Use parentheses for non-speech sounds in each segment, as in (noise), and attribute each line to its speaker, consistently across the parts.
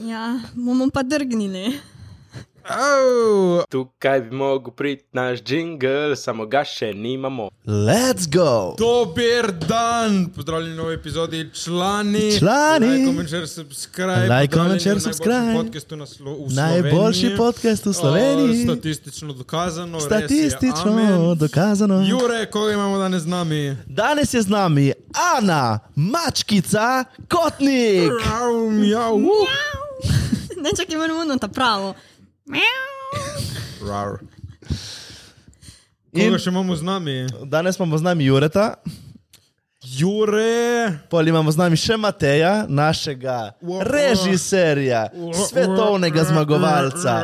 Speaker 1: Ja, bomo pa drgnili. (laughs)
Speaker 2: Oh. Tukaj bi mogel priti naš jingle, samo ga še nimamo.
Speaker 3: Let's go!
Speaker 4: Dober dan, pozdravljeni v novi epizodi, člani.
Speaker 3: Člani.
Speaker 4: Like, comment, share, subscribe. Pozdravljeni
Speaker 3: Like, comment, share,
Speaker 4: v najboljšem
Speaker 3: subscribe.
Speaker 4: Podcastu na slo v
Speaker 3: Najboljši
Speaker 4: Sloveniji.
Speaker 3: podcast v Sloveniji.
Speaker 4: O, statistično dokazano. res je,
Speaker 3: Statistično
Speaker 4: amen.
Speaker 3: dokazano.
Speaker 4: Jure, koga imamo danes z nami?
Speaker 3: Danes je z nami Ana, mačkica, kotnik.
Speaker 4: Prav, mjav, uh.
Speaker 1: Ne čakaj, moramo na ta pravo.
Speaker 4: Rar.
Speaker 3: In
Speaker 4: Koga še imamo z nami?
Speaker 3: danes imamo z nami Jureta,
Speaker 4: Jure.
Speaker 3: pol imamo z nami še Mateja, našega režiserja, svetovnega zmagovalca,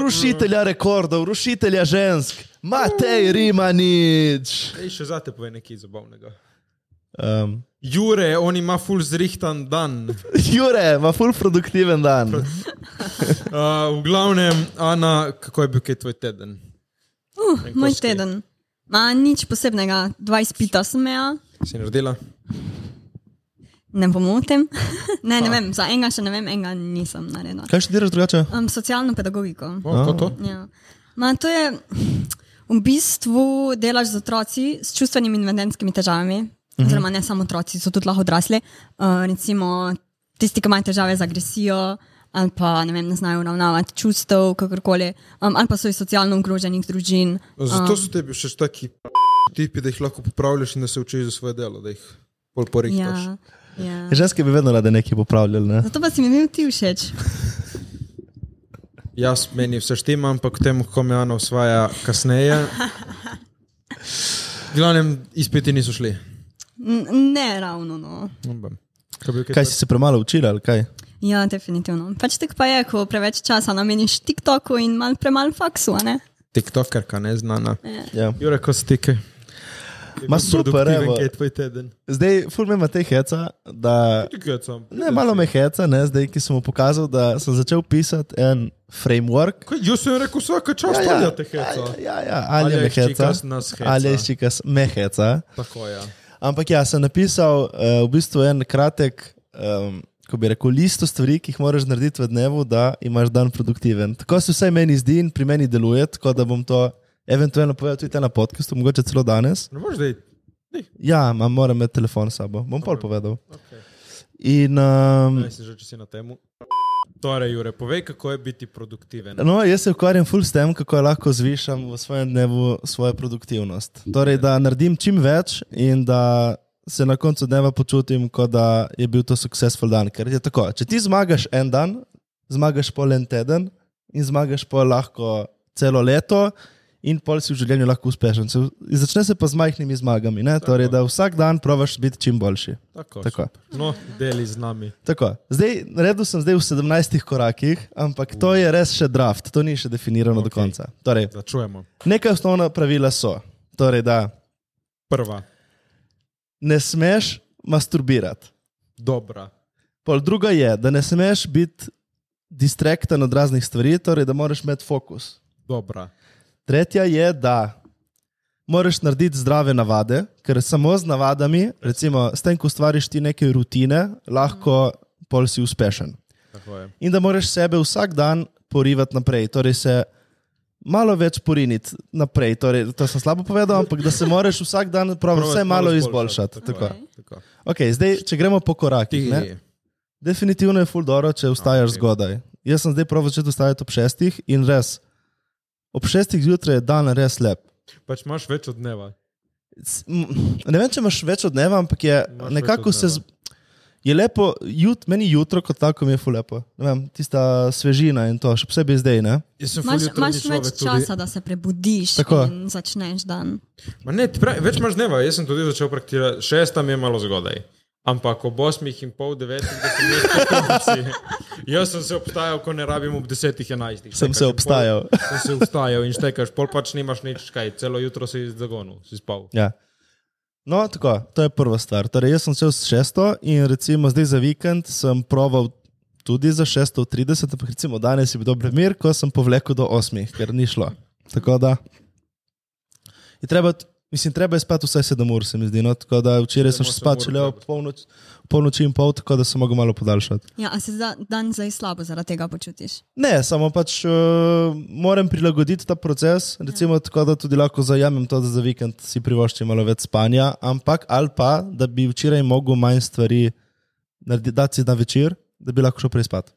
Speaker 3: rušitelja rekordov, rušitelja žensk, Matej Rimanič.
Speaker 4: Ej, še zate pove nekaj zabavnega.
Speaker 3: Um,
Speaker 4: Jure, on ima full zrihtan dan.
Speaker 3: Jure, ima ful produktiven dan.
Speaker 4: Uh, v glavnem, Ana, kako je bil kaj tvoj teden?
Speaker 1: Uh, moj
Speaker 4: koski.
Speaker 1: teden. Ma nič posebnega, dva izpita sem imela,
Speaker 4: Si naredila?
Speaker 1: ne pomotim. (laughs) ne, ne vem, za enega še ne vem, enega nisem naredila.
Speaker 3: Kaj študiraš drugače?
Speaker 1: Um, socialno pedagogiko.
Speaker 4: O, to, to?
Speaker 1: Ja. Ma, to je, v bistvu delaš z otroci s čustvenimi in vedenskimi težavami, uh -huh. oziroma ne samo otroci, so tudi lahko odrasli. Uh, recimo tisti, ki imajo težave z agresijo. Ali pa ne, vem, ne znajo uravnavati čustev, kakorkoli, um, ali pa so iz socialno ogroženih družin.
Speaker 4: Zato so tebi še taki tipi, da jih lahko popravljaš in da se učiš za svoje delo, da jih bolj porihtaš.
Speaker 1: Ja, ja.
Speaker 3: Ženske bi vedno rade nekaj popravljali. Ne?
Speaker 1: Zato pa si mi bil ti všeč.
Speaker 4: Jaz meni vse štima, ampak k temu, ko me Ana osvaja
Speaker 1: (laughs)
Speaker 4: kasneje. V glavnem, izpiti niso šli.
Speaker 1: N ne, ravno. No.
Speaker 4: Kaj bil kaj
Speaker 3: Kaj si se premalo učila ali kaj?
Speaker 1: Ja, definitivno. Pač tako pa je, ko preveč časa nameniš TikToku in mal premalo faksu. a Ne?
Speaker 4: TikTokerka neznana.
Speaker 3: Ja.
Speaker 4: Jure, ko stike.
Speaker 3: Ma super,
Speaker 4: produktiven,
Speaker 3: evo.
Speaker 4: kaj je tvoj teden.
Speaker 3: Zdaj, ful me ima te heca, da
Speaker 4: Tikaj sem.
Speaker 3: ne malo me heca, ne, zdaj, ki sem mu pokazal, da sem začel pisati en framework.
Speaker 4: Kaj, jaz sem rekel, vsake čas ja, ja. te heca.
Speaker 3: ja, ja, ja, ali je
Speaker 4: Alja
Speaker 3: me heca,
Speaker 4: Ščikas nas heca.
Speaker 3: ali je ščikas me heca.
Speaker 4: Tako je. Ja.
Speaker 3: Ampak ja, sem napisal uh, v bistvu en kratek, um, ko bi rekel, listo stvari, ki jih moraš narediti v dnevu, da imaš dan produktiven. Tako se vsaj meni zdi in pri meni deluje, tako da bom to eventualno povedal tudi na podkastu, mogoče celo danes.
Speaker 4: Ne moreš zdaj.
Speaker 3: Ja, imam, moram imeti telefon s sabo, bom pol povedal.
Speaker 4: Okay.
Speaker 3: In, um,
Speaker 4: Naj si že, če si na temu. Torej, Jure, povej, kako je biti produktiven.
Speaker 3: No, jaz se ukvarjam ful s tem, kako lahko zvišam v svojem dnevu svojo produktivnost. Torej, da naredim čim več in da se na koncu dneva počutim, kot da je bil to successful dan. Ker je tako, če ti zmagaš en dan, zmagaš pol en teden in zmagaš pol lahko celo leto. In pol si v življenju lahko uspešen. Se- Začne se pa z majhnimi zmagami, ne? torej, da vsak dan provaš biti čim boljši.
Speaker 4: Tako,
Speaker 3: Tako.
Speaker 4: super. No, deli z nami.
Speaker 3: Tako, zdaj, naredil sem zdaj v 17 korakih, ampak to je res še draft, to ni še definirano okay. do
Speaker 4: Okej.
Speaker 3: konca. Torej,
Speaker 4: Da čujemo.
Speaker 3: nekaj osnovna pravila so. Torej, da
Speaker 4: Prva,
Speaker 3: ne smeš masturbirati.
Speaker 4: dobra.
Speaker 3: Pol druga je, da ne smeš biti distrakten od raznih stvari, torej, da moraš imeti fokus.
Speaker 4: Dobra.
Speaker 3: Tretja je, da moraš narediti zdrave navade, ker samo z navadami, recimo s tem, ko ustvariš ti neke rutine, lahko pol si uspešen.
Speaker 4: Tako je.
Speaker 3: in da moraš sebe vsak dan porivati naprej. Torej se malo več poriniti naprej. Torej, to sem slabo povedal, ampak da se moraš vsak dan prav,
Speaker 4: Probati
Speaker 3: vse malo
Speaker 4: izboljšati,
Speaker 3: izboljšati. Tako.
Speaker 4: je, Tako.
Speaker 3: Okay, zdaj, če gremo po korakih, ne?
Speaker 4: Ti,
Speaker 3: definitivno je fuldoro, če vstajaš
Speaker 4: Ok.
Speaker 3: zgodaj. Jaz sem zdaj prav začel vstajati ob šestih in res. Ob šestih zjutraj je dan res lep.
Speaker 4: pač imaš več od dneva.
Speaker 3: S- m, Ne vem, če imaš več od dneva, ampak je
Speaker 4: Imaš več
Speaker 3: nekako
Speaker 4: od
Speaker 3: se.
Speaker 4: dneva.
Speaker 3: Z... Je lepo, jut, meni jutro kot tako mi je fulepo. Vem, tista svežina in to, še posebej zdaj. Ne?
Speaker 4: Jaz sem
Speaker 1: Imaš,
Speaker 4: fully
Speaker 1: imaš
Speaker 4: utrudni
Speaker 1: več
Speaker 4: človek. tudi.
Speaker 1: časa, da se prebudiš
Speaker 3: Tako.
Speaker 1: in začneš dan.
Speaker 4: Ma Ne, ti pravi, več imaš dneva. Jaz sem tudi začel prakticirati. Šesta mi je malo zgodaj. Ampak ob osmih in pol devetih, da sem jaz pokonci.
Speaker 3: (laughs)
Speaker 4: Jaz sem se obstajal, ko ne rabim ob desetih, enajstih. Štekaš
Speaker 3: Sem se
Speaker 4: in pol-
Speaker 3: obstajal.
Speaker 4: (laughs) Sem se obstajal in štekaš, pol pač nimaš nič kaj. Celo jutro si zagonil, si spal.
Speaker 3: (laughs) Ja. No, tako, to je prva stvar. Torej, jaz sem šel s šesto in recimo zdaj za vikend sem proval tudi za 6.30, ampak recimo danes je bil dober mir, ko sem povlekel do 8, ker ni šlo. Tako da je treba t- Mislim, treba je spati vsaj 7 ur, se mi zdi. No? Tako da včeraj sem
Speaker 4: Sedem,
Speaker 3: še
Speaker 4: osem
Speaker 3: spal,
Speaker 4: ur
Speaker 3: če le ob
Speaker 4: treba.
Speaker 3: polnoč, polnoči in pol, tako da sem mogel malo podaljšati.
Speaker 1: Ja, a se za, dan zdaj slabo zaradi tega počutiš?
Speaker 3: Ne, samo pač uh, moram prilagoditi ta proces, recimo ja. tako, da tudi lahko zajamem to, da za vikend si privoščim malo več spanja, ampak ali pa, da bi včeraj mogel manj stvari narediti, dati si na večer, da bi lahko šel prej spat.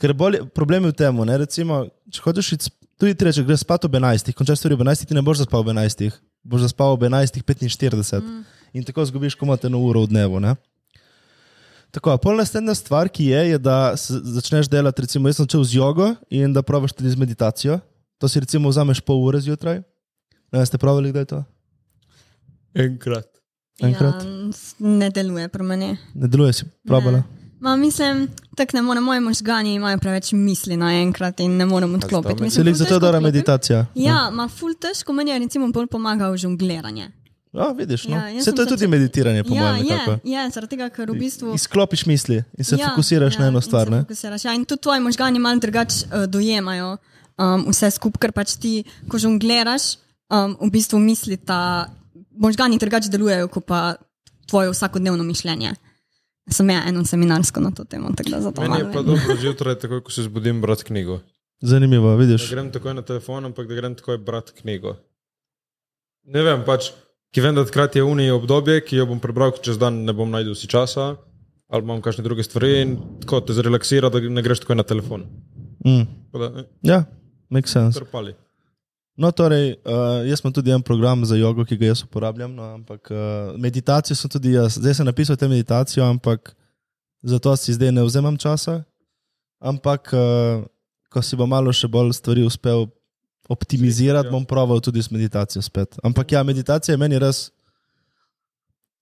Speaker 3: Ker bolj, problem je v tem, ne, recimo, če hočeš iti, sp- tudi ti reče, greš spat ob 11, končaš stvari ob 11, ti ne boš zaspal ob 11, boš zaspal ob 11.45 mm. in tako zgubiš komot eno uro v dnevu. Ne? Tako, pol naslednja stvar, ki je, je, da se začneš delati, recimo, jaz sem začel z jogo in da praviš tudi z meditacijo. To si recimo vzameš pol ure zjutraj. Ne, ste pravili, kdaj je to?
Speaker 4: Enkrat.
Speaker 3: Enkrat.
Speaker 1: Ja, s- ne deluje pri meni.
Speaker 3: Ne deluje, si pravila.
Speaker 1: Ma, mislim, tako ne morem, moji možgani imajo preveč misli naenkrat in ne morem odklopiti.
Speaker 2: to
Speaker 1: Mislim,
Speaker 3: Se lik
Speaker 1: ful
Speaker 3: zato je
Speaker 1: težko
Speaker 3: dobra
Speaker 1: odklopim.
Speaker 3: meditacija.
Speaker 1: Ja, ma ful težko meni je recimo bolj pomagal žongliranje.
Speaker 3: Ja, vidiš, no.
Speaker 1: Ja, jaz
Speaker 3: Se
Speaker 1: sem
Speaker 3: to je tudi
Speaker 1: začela-
Speaker 3: meditiranje, po
Speaker 1: ja,
Speaker 3: mojem, nekako.
Speaker 1: je, je, zaradi tega, ker v bistvu.
Speaker 3: Izklopiš misli in se
Speaker 1: ja,
Speaker 3: fokusiraš
Speaker 1: ja,
Speaker 3: na eno
Speaker 1: in
Speaker 3: stvar,
Speaker 1: se
Speaker 3: ne?
Speaker 1: Fokusiraš, ja, in tudi tvoji možgani malo drugače uh, dojemajo um, vse skupaj, ker pač ti, ko žongliraš, um, v bistvu misli ta, možgani drugače delujejo, kot pa tvoje vsakodnevno mišljenje. Sem ja eno seminarsko na to temo, tako da zato
Speaker 4: Meni je
Speaker 1: malo.
Speaker 4: pa
Speaker 1: vem.
Speaker 4: dobro zjutraj, takoj ko se zbudim, brati knjigo.
Speaker 3: Zanimivo,
Speaker 4: Ne
Speaker 3: vidiš.
Speaker 4: grem takoj na telefon, ampak da grem takoj brati knjigo. Ne vem, pač, ki vem, da takrat je unije obdobje, ki jo bom prebral, ker čez dan ne bom najdel si časa, ali imam kakšne druge stvari in tako te zrelaksira, da ne greš takoj na telefon.
Speaker 3: Mm.
Speaker 4: Tako Da, eh,
Speaker 3: Ja, makes sense.
Speaker 4: trpali.
Speaker 3: No, torej, uh, jaz imam tudi en program za jogo, ki ga jaz uporabljam, no, ampak uh, meditacijo sem tudi jaz. Zdaj sem napisal te meditacijo, ampak zato si zdaj ne vzemam časa. Ampak, uh, ko si bo malo še bolj stvari uspel optimizirati,
Speaker 4: Ja.
Speaker 3: bom proval tudi s meditacijo spet. Ampak ja, meditacija je meni res.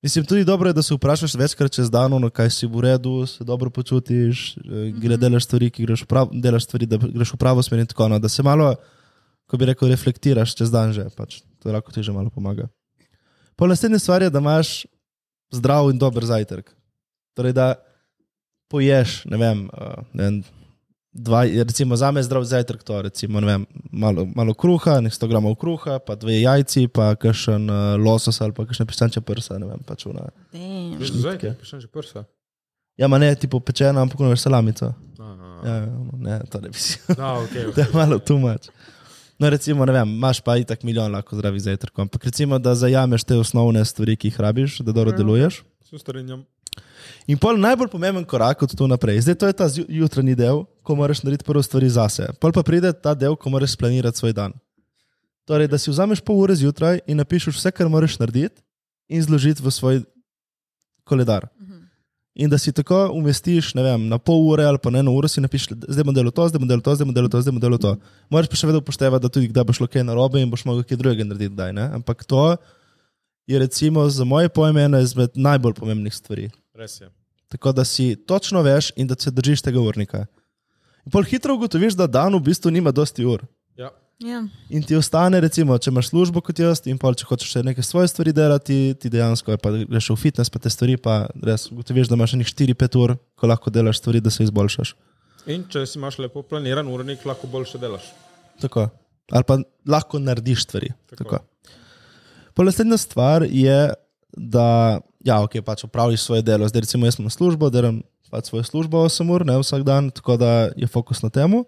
Speaker 3: Mislim, tudi dobro je, da se vprašaš večkrat čez dan, no, kaj si v redu, se dobro počutiš, eh, gre delaš stvari, ki greš v pravo, delaš stvari, da greš v pravo smer in tako naprej. Da se malo, ko bi rekel, reflektiraš čez dan že, pač to lahko ti že malo pomaga. Po naslednji stvari je, da imaš zdrav in dober zajtrk. Torej, da poješ, ne vem, eh, ne vem dva, recimo za me zdrav zajtrk, to recimo, ne vem, malo, malo kruha, nekaj 100 gramov kruha, pa dve jajci, pa kakšen uh, losos ali pa kakšne piščančje prsa, ne vem, pač una.
Speaker 1: Damn.
Speaker 4: Že zdaj, pišem že prsa.
Speaker 3: Ja, ma ne, tipo pečena, ampak ono veš salamico.
Speaker 4: Aha.
Speaker 3: Ja, ja, no, ne, to ne bi si. (laughs)
Speaker 4: Da, okay,
Speaker 3: to je malo tumač. No, recimo, ne vem, imaš pa itak milijon lahko zdravih zajtrkov, ampak recimo, da zajameš te osnovne stvari, ki jih rabiš, da dobro deluješ.
Speaker 4: Se starinjam.
Speaker 3: In pol najbolj pomemben korak od tu naprej. Zdaj to je ta zju- jutranji del, ko moraš narediti prvo stvari zase. Pol pa pride ta del, ko moraš planirati svoj dan. Torej, da si vzameš pol ure zjutraj in napišeš vse, kar moraš narediti, in zložiti v svoj koledar.
Speaker 1: Mhm.
Speaker 3: In da si tako umestiš, ne vem, na pol ure ali pa na eno uro si napišeš, zdaj bom delal to, zdaj bom delal to, zdaj bom delal to, zdaj bom delal to. Moraš pa še vedno upoštevati, da tudi kdaj boš šlo kaj narobe in boš mogel kaj drugega narediti, kdaj, ne? ampak to je recimo za moje pojme ena izmed najbolj pomembnih stvari.
Speaker 4: Res je.
Speaker 3: Tako da si točno veš in da se držiš tega urnika. In pol hitro ugotoviš, da dan v bistvu nima dosti ur.
Speaker 4: Ja.
Speaker 1: Ja.
Speaker 3: In ti ostane, recimo, če imaš službo kot jaz, in pol, če hočeš še neke svoje stvari delati, ti dejansko je pa greš v fitness, pa te stvari, pa res ugotoviš, da imaš nekih 4-5 ur, ko lahko delaš stvari, da se izboljšaš.
Speaker 4: In če si imaš lepo planiran urnik, lahko boljše delaš.
Speaker 3: Tako. Ali pa lahko narediš stvari. Tako. Tako. Pol Naslednja stvar je, da ja, okay, pač opraviš svoje delo. Zdaj, recimo, jaz sem službo, delam pač svojo službo 8 ur, ne vsak dan, tako da je fokus na temu.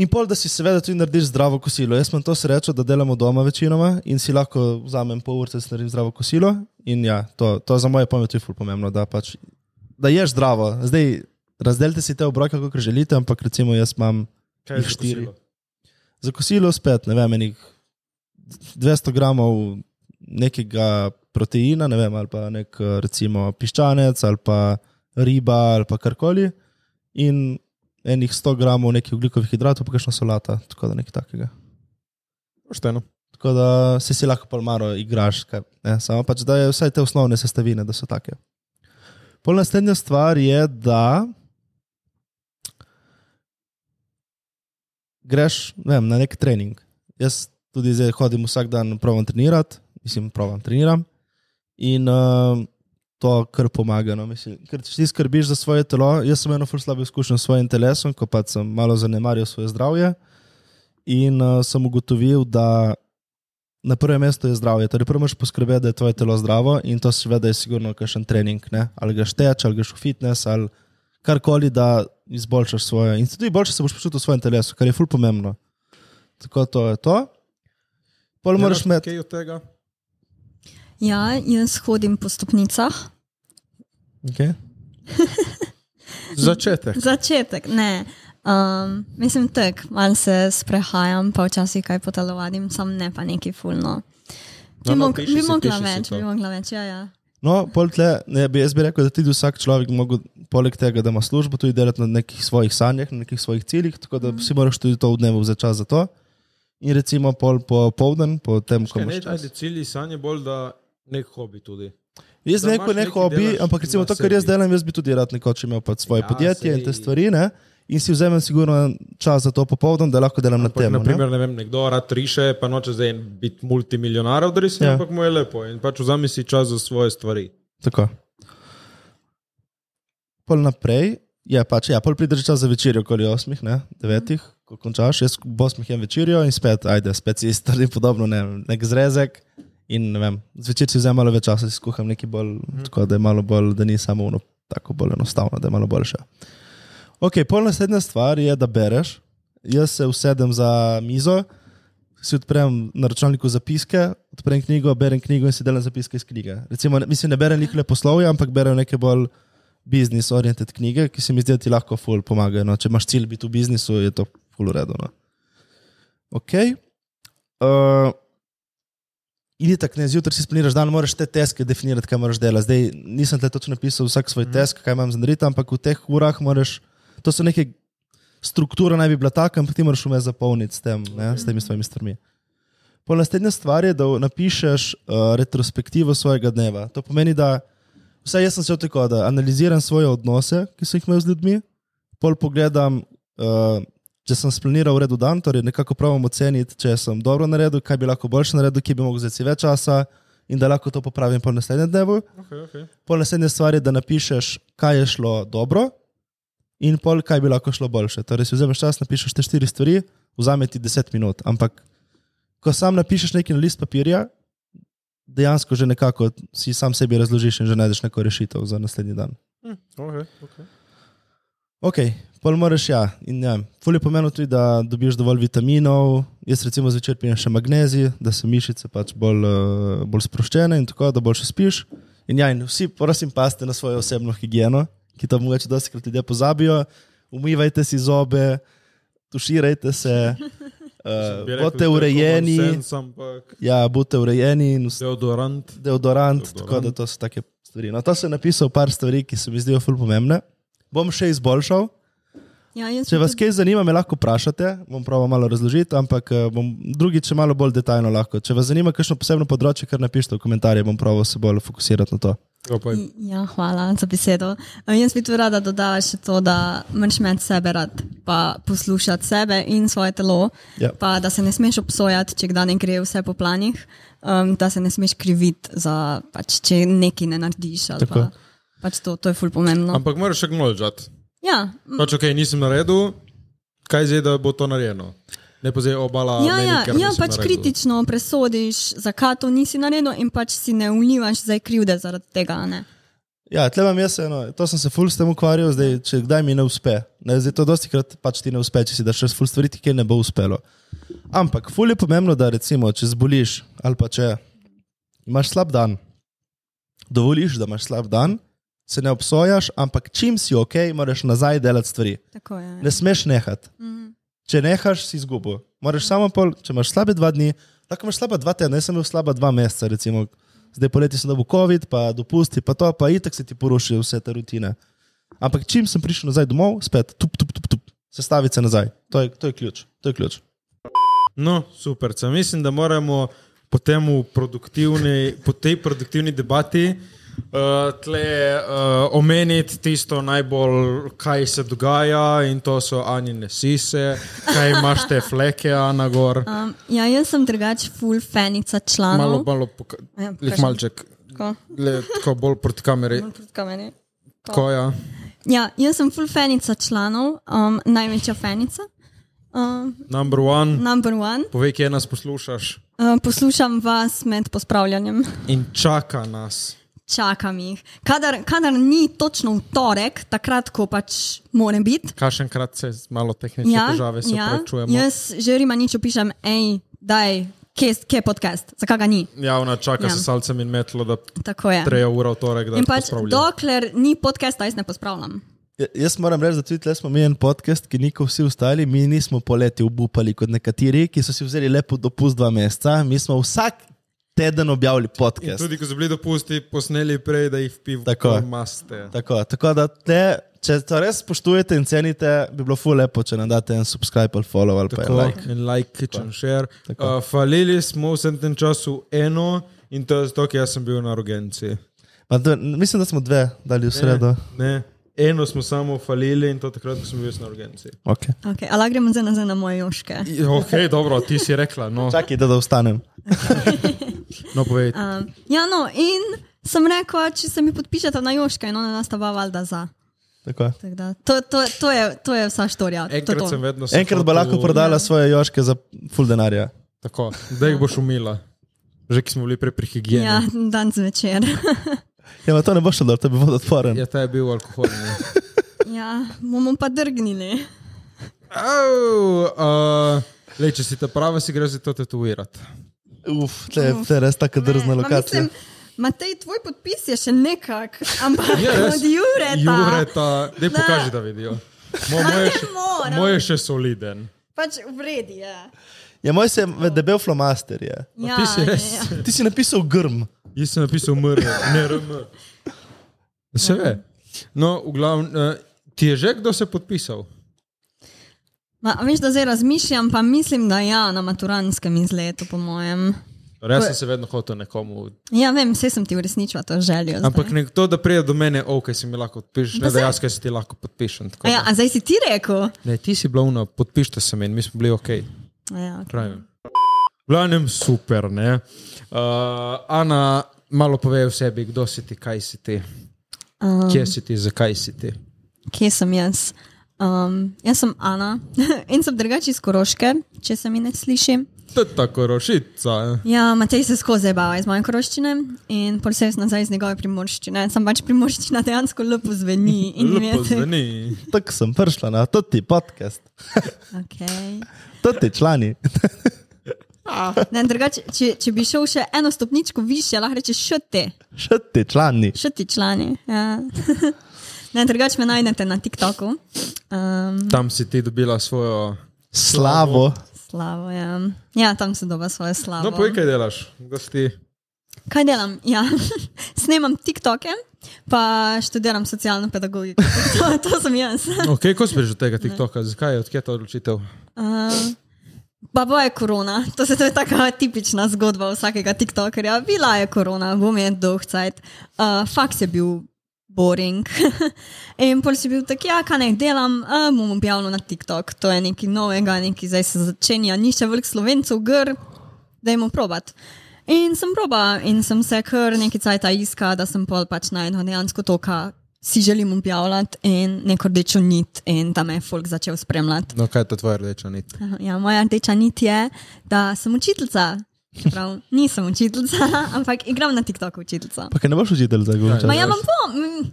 Speaker 3: In pol, da si seveda tudi narediš zdravo kosilo. Jaz imam to srečo, da delamo doma večinoma in si lahko vzamem pol ure, da si naredim zdravo kosilo. In ja, to, to za moje pamet je ful pomembno, da pač da ješ zdravo. Zdaj, razdelite si te obroke, kako želite, ampak recimo jaz imam
Speaker 4: Kaj je
Speaker 3: Jih
Speaker 4: za
Speaker 3: štiri.
Speaker 4: kosilo?
Speaker 3: za kosilo spet, ne vem, enih 200 gramov nekega proteina, ne vem, ali pa nek eh, recimo piščanec ali pa riba ali pa karkoli, in enih 100 gramov nekih ugljikovih hidratov, pa kakšna solata, tako da nekaj takega.
Speaker 4: Pošteno.
Speaker 3: Tako da se si lahko palmaro igraš, kaj, ne, samo pač da je vse te osnovne sestavine, da so take. Pol naslednja stvar je, da greš ne vem, na nek trening. Jaz tudi zdaj hodim vsak dan, pravim trenirati, mislim, pravim treniram. In uh, to kar pomaga. No, mislim, ker če ti skrbiš za svoje telo, jaz sem eno ful slabo izkušnjo s svojim telesom, ko pač pa sem malo zanemaril svoje zdravje. In uh, sem ugotovil, eh, da na prvem mestu je zdravje. Torej, prvo moraš poskrbeti, da je tvoje telo zdravo in to seveda je sigurno kakšen trening. Ne? Ali ga šteč, ali greš v fitness, ali karkoli, da izboljšaš svoje. In tudi boljše se boš počutil v svojem telesu, kar je ful pomembno. Tako to je to. Pol moraš imeti.
Speaker 4: kaj od tega.
Speaker 1: Ja, jaz hodim po stopnicah.
Speaker 3: Okay.
Speaker 4: Začetek.
Speaker 1: Začetek, ne. Um, mislim, tek, malo se sprehajam, pa včasih kaj potelovadim, sam ne pa neki fulno. Bi,
Speaker 4: No, no,
Speaker 1: mog,
Speaker 4: piši
Speaker 1: bi
Speaker 4: si,
Speaker 1: mogla
Speaker 4: piši si
Speaker 1: več,
Speaker 4: to.
Speaker 1: bi mogla več, ja, ja.
Speaker 3: No, pol tle, ne, bi, jaz bi rekel, da tudi vsak človek lahko, poleg tega, da ima službo, tudi delati na nekih svojih sanjah, na nekih svojih ciljih, tako da
Speaker 4: Mhm.
Speaker 3: si moraš tudi to v dnevu vzeti čas za to. In recimo pol po povdan, po tem, ko
Speaker 4: Kaj ne,
Speaker 3: imaš čas.
Speaker 4: ajde cilji, sanje bolj, da nek hobi tudi.
Speaker 3: Jaz
Speaker 4: Da
Speaker 3: ne
Speaker 4: imaš
Speaker 3: kot nek
Speaker 4: nekaj
Speaker 3: hobi,
Speaker 4: delaš
Speaker 3: ampak recimo
Speaker 4: na
Speaker 3: to, kar jaz
Speaker 4: sebi.
Speaker 3: delam, jaz bi tudi rad nekoč imel pač svoje
Speaker 4: Ja,
Speaker 3: ja, podjetje in te
Speaker 4: sej.
Speaker 3: stvari. Ne? In si vzamem sigurno čas za to popoldan, da lahko delam na
Speaker 4: Ampak,
Speaker 3: tem.
Speaker 4: naprimer, ne vem, nekdo rad riše, pa noče zdaj biti multimilijonar, da riše,
Speaker 3: Ja.
Speaker 4: ja. ampak mu je lepo in pač vzami si čas za svoje stvari.
Speaker 3: Tako. Pol naprej, ja, pač, ja, pol pridrži čas za večerjo, okoli 8, ne, 9, ko končaš, jaz ob 8 jem večerjo in spet, ajde, spet si stvari podobno, ne, vem, nek zrezek. In ne vem, zvečer si vzamem malo več časa, si skuham nekaj bolj, mm. tako da je malo bolj, da ni samo ono, tako bolj enostavno, da je malo boljše. Ok, pol naslednja stvar je, da bereš. Jaz se usedem za mizo, si odprem na računalniku zapiske, odprem knjigo, berem knjigo in si delam zapiske iz knjige. Recimo, ne- mislim, ne berem lih le poslovje, ampak berem neke bolj biznis-oriented knjige, ki se mi zdijo ti lahko ful pomagajo. No. Če imaš cilj biti v biznisu, je to ful uredno. Ok. Uh, In tako ne zjutraj si splaniraš dan, moraš te teske definirati, kaj moraš delati. Zdaj nisem te točno napisal vsak svoj mm. tesk, kaj imam zanariti, ampak v teh urah moraš, to so neke struktura naj bi bila taka, ampak ti moraš vmes zapolniti s, tem, ne, s temi svojimi stvarmi. Pol naslednja stvar je, da v- napišeš uh, retrospektivo svojega dneva. To pomeni, da vsaj jaz sem se tako, da analiziram svoje odnose, ki sem jih imel z ljudmi, pol pogledam, uh, če sem splaniral v redu dan, torej nekako pravim oceniti, če sem dobro naredil, kaj bi lahko boljše naredil, kje bi lahko vzel več časa in da lahko to popravim po naslednjem dnevu.
Speaker 4: Okay, okay.
Speaker 3: Pol naslednja stvar je, da napišeš, kaj je šlo dobro, in pol, kaj bi lahko šlo boljše. Torej, si vzameš čas, napišeš te štiri stvari, vzame ti deset minut. Ampak, ko sam napišeš nekaj na list papirja, dejansko že nekako si sam sebi razložiš in že najdeš neko rešitev za naslednji dan.
Speaker 4: Okay, okay.
Speaker 3: Ok, pol moraš ja. In ja, ful je pomembno tudi, da dobiš dovolj vitaminov. Jaz recimo zvečer pijem še magnezij, da so mišice pač bolj, eh, bolj sproščene in tako, da boljše spiš. In ja, in vsi prosim paste na svojo osebno higieno, ki to mogoče dosti krat ljudje pozabijo. Umivajte si zobe, tuširajte se, eh, bodite urejeni.
Speaker 4: Ampak
Speaker 3: Ja, bodite urejeni in vse
Speaker 4: deodorant.
Speaker 3: deodorant,
Speaker 4: Deodorant.
Speaker 3: tako da to so take stvari. No, to sem napisal par stvari, ki se mi zdijo ful pomembne. Bom še izboljšal.
Speaker 1: ja jaz
Speaker 3: Če
Speaker 1: bi
Speaker 3: vas
Speaker 1: tudi-
Speaker 3: kaj zanima, me lahko vprašate, bom pravil malo razložiti, ampak eh, bom drugič še malo bolj detajlno lahko. Če vas zanima kakšno posebno področje, kar napišite v komentarje, bom pravil se bolj fokusirati na to.
Speaker 4: Opaj,
Speaker 1: Ja, hvala za besedo. Eh, Jaz bi tu rada dodala še to, da moraš imeti sebe rad, pa poslušati sebe in svoje telo,
Speaker 3: Ja.
Speaker 1: pa da se ne smeš obsojati, če kdaj ne gre vse po planih, um, da se ne smeš kriviti, za, pač, če nekaj ne narediš. ali
Speaker 3: Tako.
Speaker 1: Pa, pač to, to je ful pomembno.
Speaker 4: ampak moraš acknowledgeati.
Speaker 1: ja, m,
Speaker 4: Pač, ok, nisem naredil, kaj zdaj, da bo to narejeno. Ne pa zdaj obala.
Speaker 1: ja,
Speaker 4: meni,
Speaker 1: ja,
Speaker 4: ker
Speaker 1: ja
Speaker 4: nisem
Speaker 1: pač
Speaker 4: naredil.
Speaker 1: kritično presodiš, zakaj to nisi naredil in pač si ne ulivaš zdaj krivde zaradi tega. a Ne?
Speaker 3: Ja, tle imam jaz eno, to sem se ful s tem ukvarjal, zdaj, če kdaj mi ne uspe. Ne, zdaj to dosti krat pač ti ne uspe, če si daš res ful stvari, ti kjer ne bo uspelo. Ampak ful je pomembno, da recimo, če zboliš ali pa če imaš slab dan, dovoliš, da imaš slab dan, se ne obsojaš, ampak čim si ok, moraš nazaj delati stvari.
Speaker 1: Tako je.
Speaker 3: Ne smeš nehati.
Speaker 1: Mhm.
Speaker 3: Če nehaš, si izgubo. Moraš samo pol, če imaš slabe dva dni, lahko imaš slaba dva tedna, jaz sem imel slaba dva meseca, recimo. Zdaj poleti sem dobil COVID, pa dopusti, pa to, pa itek se ti poruši vse te rutine. Ampak čim sem prišel nazaj domov, spet, tup, tup, tup, tup sestaviti se nazaj. To je, to je ključ. To je ključ.
Speaker 4: No, super. Sam mislim, da moramo po, temu produktivni- po tej produktivni debati uh, tle, uh, omeniti tisto najbolj, kaj se dogaja, in to so Anjine sise, kaj imaš te fleke, Ana Gor.
Speaker 1: Um, ja, jaz sem drugače full fanica članov.
Speaker 4: Malo, malo, poka-
Speaker 1: Ja,
Speaker 4: lih
Speaker 1: kažem.
Speaker 4: malček,
Speaker 1: Tako.
Speaker 4: le, tako bolj proti kameri.
Speaker 1: Bolj proti kameni.
Speaker 4: Tako, ja.
Speaker 1: Ja, jaz sem full fanica članov, um, največja fanica, um,
Speaker 4: Number one,
Speaker 1: number one.
Speaker 4: povej, kje nas poslušaš.
Speaker 1: Uh, poslušam vas med pospravljanjem.
Speaker 4: In čaka nas.
Speaker 1: Čakam jih. Kadar, kadar ni točno v torek, takrat, ko pač moram biti,
Speaker 4: Kašenkrat se z malo tehnične težave se prečujemo.
Speaker 1: Ja, Jaz že Rima nič opišem, hej, daj, kje, kje je podcast, zakaj ga ni.
Speaker 4: Ja, ona čaka
Speaker 1: Ja.
Speaker 4: ja. s salcem in metlo, da
Speaker 1: Tako je.
Speaker 4: treja ura v torek, da
Speaker 1: In pač,
Speaker 4: pospravlja.
Speaker 1: dokler ni podcasta, jaz ne pospravljam.
Speaker 3: Ja, Jaz moram reči, da tudi tle smo mi en podcast, ki niko vsi ostali, mi nismo poleti obupali kot nekateri, ki so si vzeli lepo dopust dva meseca. Mi smo vsak teden objavili
Speaker 4: In
Speaker 3: podcast.
Speaker 4: tudi, ko so bili dopusti, posneli prej, da jih pivo
Speaker 3: Tako je.
Speaker 4: maste.
Speaker 3: Tako, tako da te, če to res spoštujete in cenite, bi bilo ful lepo, če nam date en subscribe ali follow ali pa en
Speaker 4: Tako,
Speaker 3: like.
Speaker 4: in like, kitchen share.
Speaker 3: Tako.
Speaker 4: Uh, falili smo vsem tem času eno in to je zato, ker jaz sem bil na rogenci.
Speaker 3: Pa To, mislim, da smo dve dali v sredo.
Speaker 4: Ne, eno smo samo falili in to takrat, ko sem bil jaz na rogenci.
Speaker 3: Okay.
Speaker 1: Okay, ali gremo zdaj nazaj na moje joške?
Speaker 4: Ok,
Speaker 1: (laughs)
Speaker 4: dobro, ti si rekla. No,
Speaker 3: Čakaj, da, da ostanem.
Speaker 4: no povej.
Speaker 1: Um, ja, no, in sem rekla, če se mi podpišete na joške, in ona nas ta dva valjda za.
Speaker 3: Tako. je.
Speaker 1: Tako da, To, to, to, je, to je vsa štorija. To,
Speaker 4: Enkrat
Speaker 1: to.
Speaker 4: sem vedno se
Speaker 3: Enkrat bo lahko
Speaker 4: hotel-
Speaker 3: prodala svoje joške za full denarja.
Speaker 4: Tako, da jih boš umila. Že ki smo bili prej pri higieni.
Speaker 1: Ja,
Speaker 4: Ja.
Speaker 1: dan zvečer. (laughs)
Speaker 3: Ja, ma to ne bo šlo, dol, to bi bil odporen.
Speaker 4: Ja, ta je bil alkohol. ne.
Speaker 1: ja, bomo pa drgnili.
Speaker 4: Au, Uh, lej, če si ta prava, si greš za to tetovirati.
Speaker 3: Uf, to je- to je res tako
Speaker 1: Ne,
Speaker 3: drzna
Speaker 1: pa
Speaker 3: lokacija.
Speaker 1: mislim, Matej, tvoj podpis je še nekak, ampak
Speaker 4: Ja, res.
Speaker 1: od Jureta.
Speaker 4: Jureta, dej
Speaker 1: Da.
Speaker 4: pokaži, da vidijo. Mo,
Speaker 1: Ma
Speaker 4: moje,
Speaker 1: ne
Speaker 4: še,
Speaker 1: (laughs) moram.
Speaker 4: moje še soliden.
Speaker 1: Pač v redu je.
Speaker 3: Ja, moj se je debel flomaster. Je.
Speaker 1: Ja,
Speaker 4: ti si
Speaker 1: ja,
Speaker 4: res.
Speaker 1: ja.
Speaker 3: Ti si napisal grm.
Speaker 4: Jaz sem napisal MR, ne RM. Se ve. No, v glavnem, eh, ti je že kdo se podpisal?
Speaker 1: Ma, a veš, da zdaj razmišljam, pa mislim, da ja, na maturanskem izletu, po mojem.
Speaker 4: Res Torej, sem se vedno hotel nekomu.
Speaker 1: Ja, vem, vse sem ti uresničila to željo. zdaj.
Speaker 4: Ampak nekdo, da pride do mene, ok, si mi lahko podpišeš, ne
Speaker 1: Pa
Speaker 4: da
Speaker 1: saj.
Speaker 4: jaz, kaj si ti lahko podpišem. tako
Speaker 1: A ja,
Speaker 4: da.
Speaker 1: a zdaj si ti rekel?
Speaker 4: Ne, ti si bila una, podpišite se meni, mi smo bili ok.
Speaker 1: A Ja,
Speaker 4: Pravim. V glavnem super, ne. Uh, Ana, malo pove o sebi, kdo si ti, kaj si ti,
Speaker 1: um,
Speaker 4: kje si ti, zakaj si ti.
Speaker 1: Kje sem jaz? Um, jaz sem Ana (laughs) in sem drugače iz Koroške, če se mi ne sliši.
Speaker 4: To je tako rošica. eh.
Speaker 1: Ja, Matej se skozi zabava iz moje koroščine in pol se jaz nazaj iz njegove primorščine. Sam pač primorščina dejansko lepo zveni. in
Speaker 4: Lepo
Speaker 1: veste-
Speaker 4: zveni.
Speaker 3: Tako sem prišla na to ti podcast,
Speaker 1: Okay.
Speaker 3: to ti člani. (laughs)
Speaker 1: Ne, drugače, če, če bi šel še eno stopničko više, lahko rečeš še te.
Speaker 3: Še ti člani.
Speaker 1: Še ti člani. Ja. (laughs) ne, drugače me najdete na TikToku. Um,
Speaker 4: Tam si ti dobila svojo.
Speaker 3: Slavo.
Speaker 1: slavo, ja. ja, tam se doba svoje slavo.
Speaker 4: No, povej, kaj delaš, kdo si ti.
Speaker 1: Kaj delam? Ja. (laughs) Snemam TikToke, pa študiram socialno pedagogiko. (laughs) To, to sem jaz.
Speaker 4: Ok, ko si prišel do tega TikToka, zakaj je odkje ta odločitev?
Speaker 1: Uh, Baba je korona, to se to je taka tipična zgodba vsakega TikTokerja. Bila je korona, bom je dolg cajt. Uh, faks je bil boring. (laughs) In pol si bil tak, ja, kaj naj delam, uh, bom objavljal na TikTok. To je nekaj novega, nekaj zdaj se začenja, ni še veliko slovencev, gr, dajmo probat. In sem proba in sem se kar nekaj cajta iska, da sem pol pač najdel dejansko to, kar si želim objavljati in neko rdečo nit in tam me je folk začel spremljati.
Speaker 4: No, kaj je to tvoja rdeča nit?
Speaker 1: Aha, (laughs) Ja, moja rdeča nit je, da sem učiteljica. Čeprav nisem učiteljica, (laughs) ampak igram na TikToku učiteljica.
Speaker 3: Pa kaj ne boš učitelj za govor.
Speaker 1: Ma ja, imam po, mm,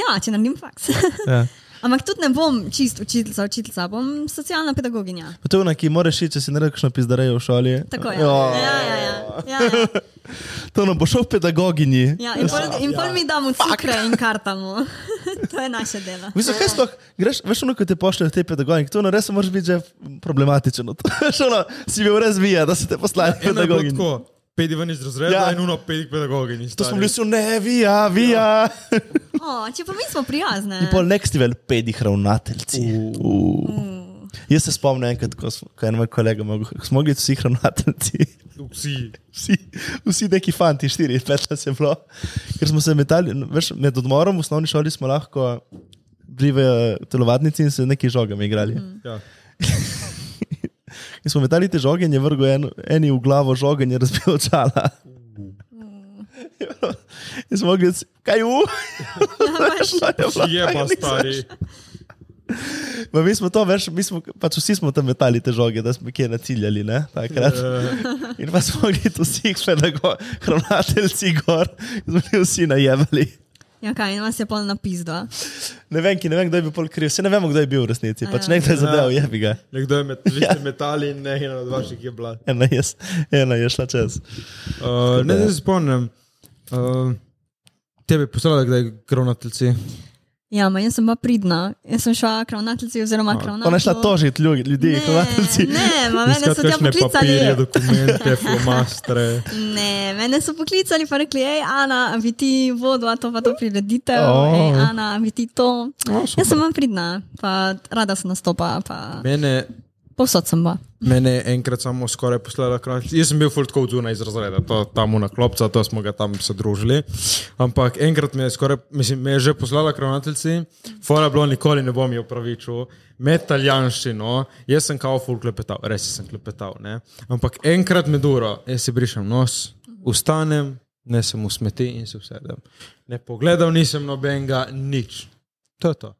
Speaker 1: ja, če naredim faks. (laughs)
Speaker 3: Ja.
Speaker 1: ampak tudi ne bom čist učiteljica, učiteljica, bom socialna pedagoginja.
Speaker 3: Pa to je ona, ki moraš iti, če si ne rečeš pizdarejo v šoli.
Speaker 1: Tako je.
Speaker 3: Jo,
Speaker 1: Ja, ja, ja. ja, ja.
Speaker 3: To nam bo šel v pedagoginji.
Speaker 1: ja in pol, in pol mi damo cukre in kartamo. (laughs) to je naše delo.
Speaker 3: Mislim, kaj sploh, greš, veš, ono, ko te pošljejo te pedagoginje, to ono res moraš biti že problematičen. (laughs) Veš, ono, si bil res vija, da si te poslali ja,
Speaker 4: Eno je bilo
Speaker 3: pedagoginje.
Speaker 4: tako, pedi ven iz razreda
Speaker 3: Ja.
Speaker 4: ja. in uno pedi pedagogi.
Speaker 3: To smo bili vsi, ne, vija,
Speaker 1: (laughs)
Speaker 3: vija. Ja.
Speaker 1: O, če pa mi smo prijazne.
Speaker 3: In pol next level pedih ravnateljci. Uh. Jaz se spomnim enkrat, ko smo- ko je en moj kolega, mogel- ko smo mogli iti vsi ravnateljci.
Speaker 4: Vsi.
Speaker 3: Vsi, vsi neki fanti, štiri, pet nas je bilo. Ker smo se metali, veš, med odmorom v osnovni šoli smo lahko bili v eh, telovadnici in se neki žogami igrali. Mm.
Speaker 4: Ja.
Speaker 3: In smo metali te žoge in je vrgel en, eni v glavo žoge in je razbil očala. In smo (laughs) mogli, reči, kaj je?
Speaker 1: Ja, pač.
Speaker 4: Je pa stari.
Speaker 3: Ma mi smo to, veš, mi smo, pač vsi smo tam metali te žoge, da smo kje naciljali. Ne, takrat. In pa smo bili tu vsi, pedago- ravnateljci gor, smo bili vsi najemali.
Speaker 1: Ja, kaj, in vas je polna pizda.
Speaker 3: Ne vem, ki ne vem, kdo je bil pol kriv, vse ne vemo, kdo je bil v resnici. Pač
Speaker 1: Ja.
Speaker 3: nekdo je zadev, je bi ga.
Speaker 4: Nekdo je med, vi
Speaker 3: Ja.
Speaker 4: ste metali in ne, ena od vaših je bila.
Speaker 3: Ena je, s- ena je šla čez.
Speaker 4: Uh, ne, zdaj se spomnim. Uh, tebe poslali, da je kronateljci.
Speaker 1: Ja, ma jaz sem pa pridna. Jaz sem šla k ravnateljici oziroma k ravnateljici.
Speaker 3: Ona je šla tožiti ljudi, ljudi
Speaker 1: No, Ne,
Speaker 3: hrvateljci.
Speaker 1: ne, ma mene so tja
Speaker 4: papirje,
Speaker 1: poklicali.
Speaker 4: dokumente, flomastre.
Speaker 1: Ne, mene so poklicali pa rekli, hej, Ana, a bi ti vodila to pa to prireditev,
Speaker 3: Oh.
Speaker 1: oh. hej, Ana, a bi ti to.
Speaker 4: O,
Speaker 1: Jaz sem vam pridna, pa rada sem nastopa, pa
Speaker 4: Mene,
Speaker 1: povsod sem bila.
Speaker 4: mene je enkrat samo skoraj poslala kronateljci. Jaz sem bil full tako zunaj iz razreda, to, tam na klopca, to smo ga tam se družili. Ampak enkrat me je, skoraj, mislim, me je že poslala kronateljci, fora je bilo, nikoli ne bom jo upravičil, med italijanščino, jaz sem kao full klepetal, res sem klepetal. Ne? Ampak enkrat med uro, jaz si brišem nos, vstanem, ne sem v smeti in se usedem. Ne pogledal nisem nobenega, nič. To je to.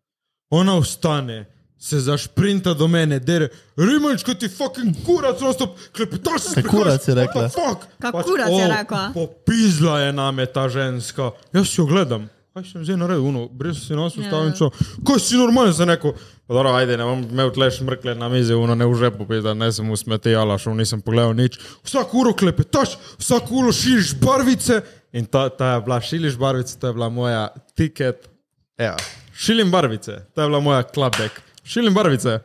Speaker 4: Ona vstane, se zašprinta do mene, der, Rimanč, kot ti fucking kurac, ostop, klepetaš se.
Speaker 3: Kaj kurac je rekla?
Speaker 1: Kaj kurac je rekla?
Speaker 4: Pač, Popizla je name ta ženska. Jaz jo gledam. Kaj sem zdaj naredil, uno, brez si nas ustavil,
Speaker 1: Ja.
Speaker 4: čo. Kaj si normalen, sem rekel. "Pa Dobro, ajde, ne bom imel tleš mrkle na mizi, uno ne v žepu, pizda, ne sem v smeti, ala šel, nisem pogledal nič. Vsak uro klepetaš, vsak uro širiš barvice. In ta, ta je bila šiliš barvice, to je bila moja tiket. Ja. Šilim barvice, to je bila moja klabek. Šilim barvice.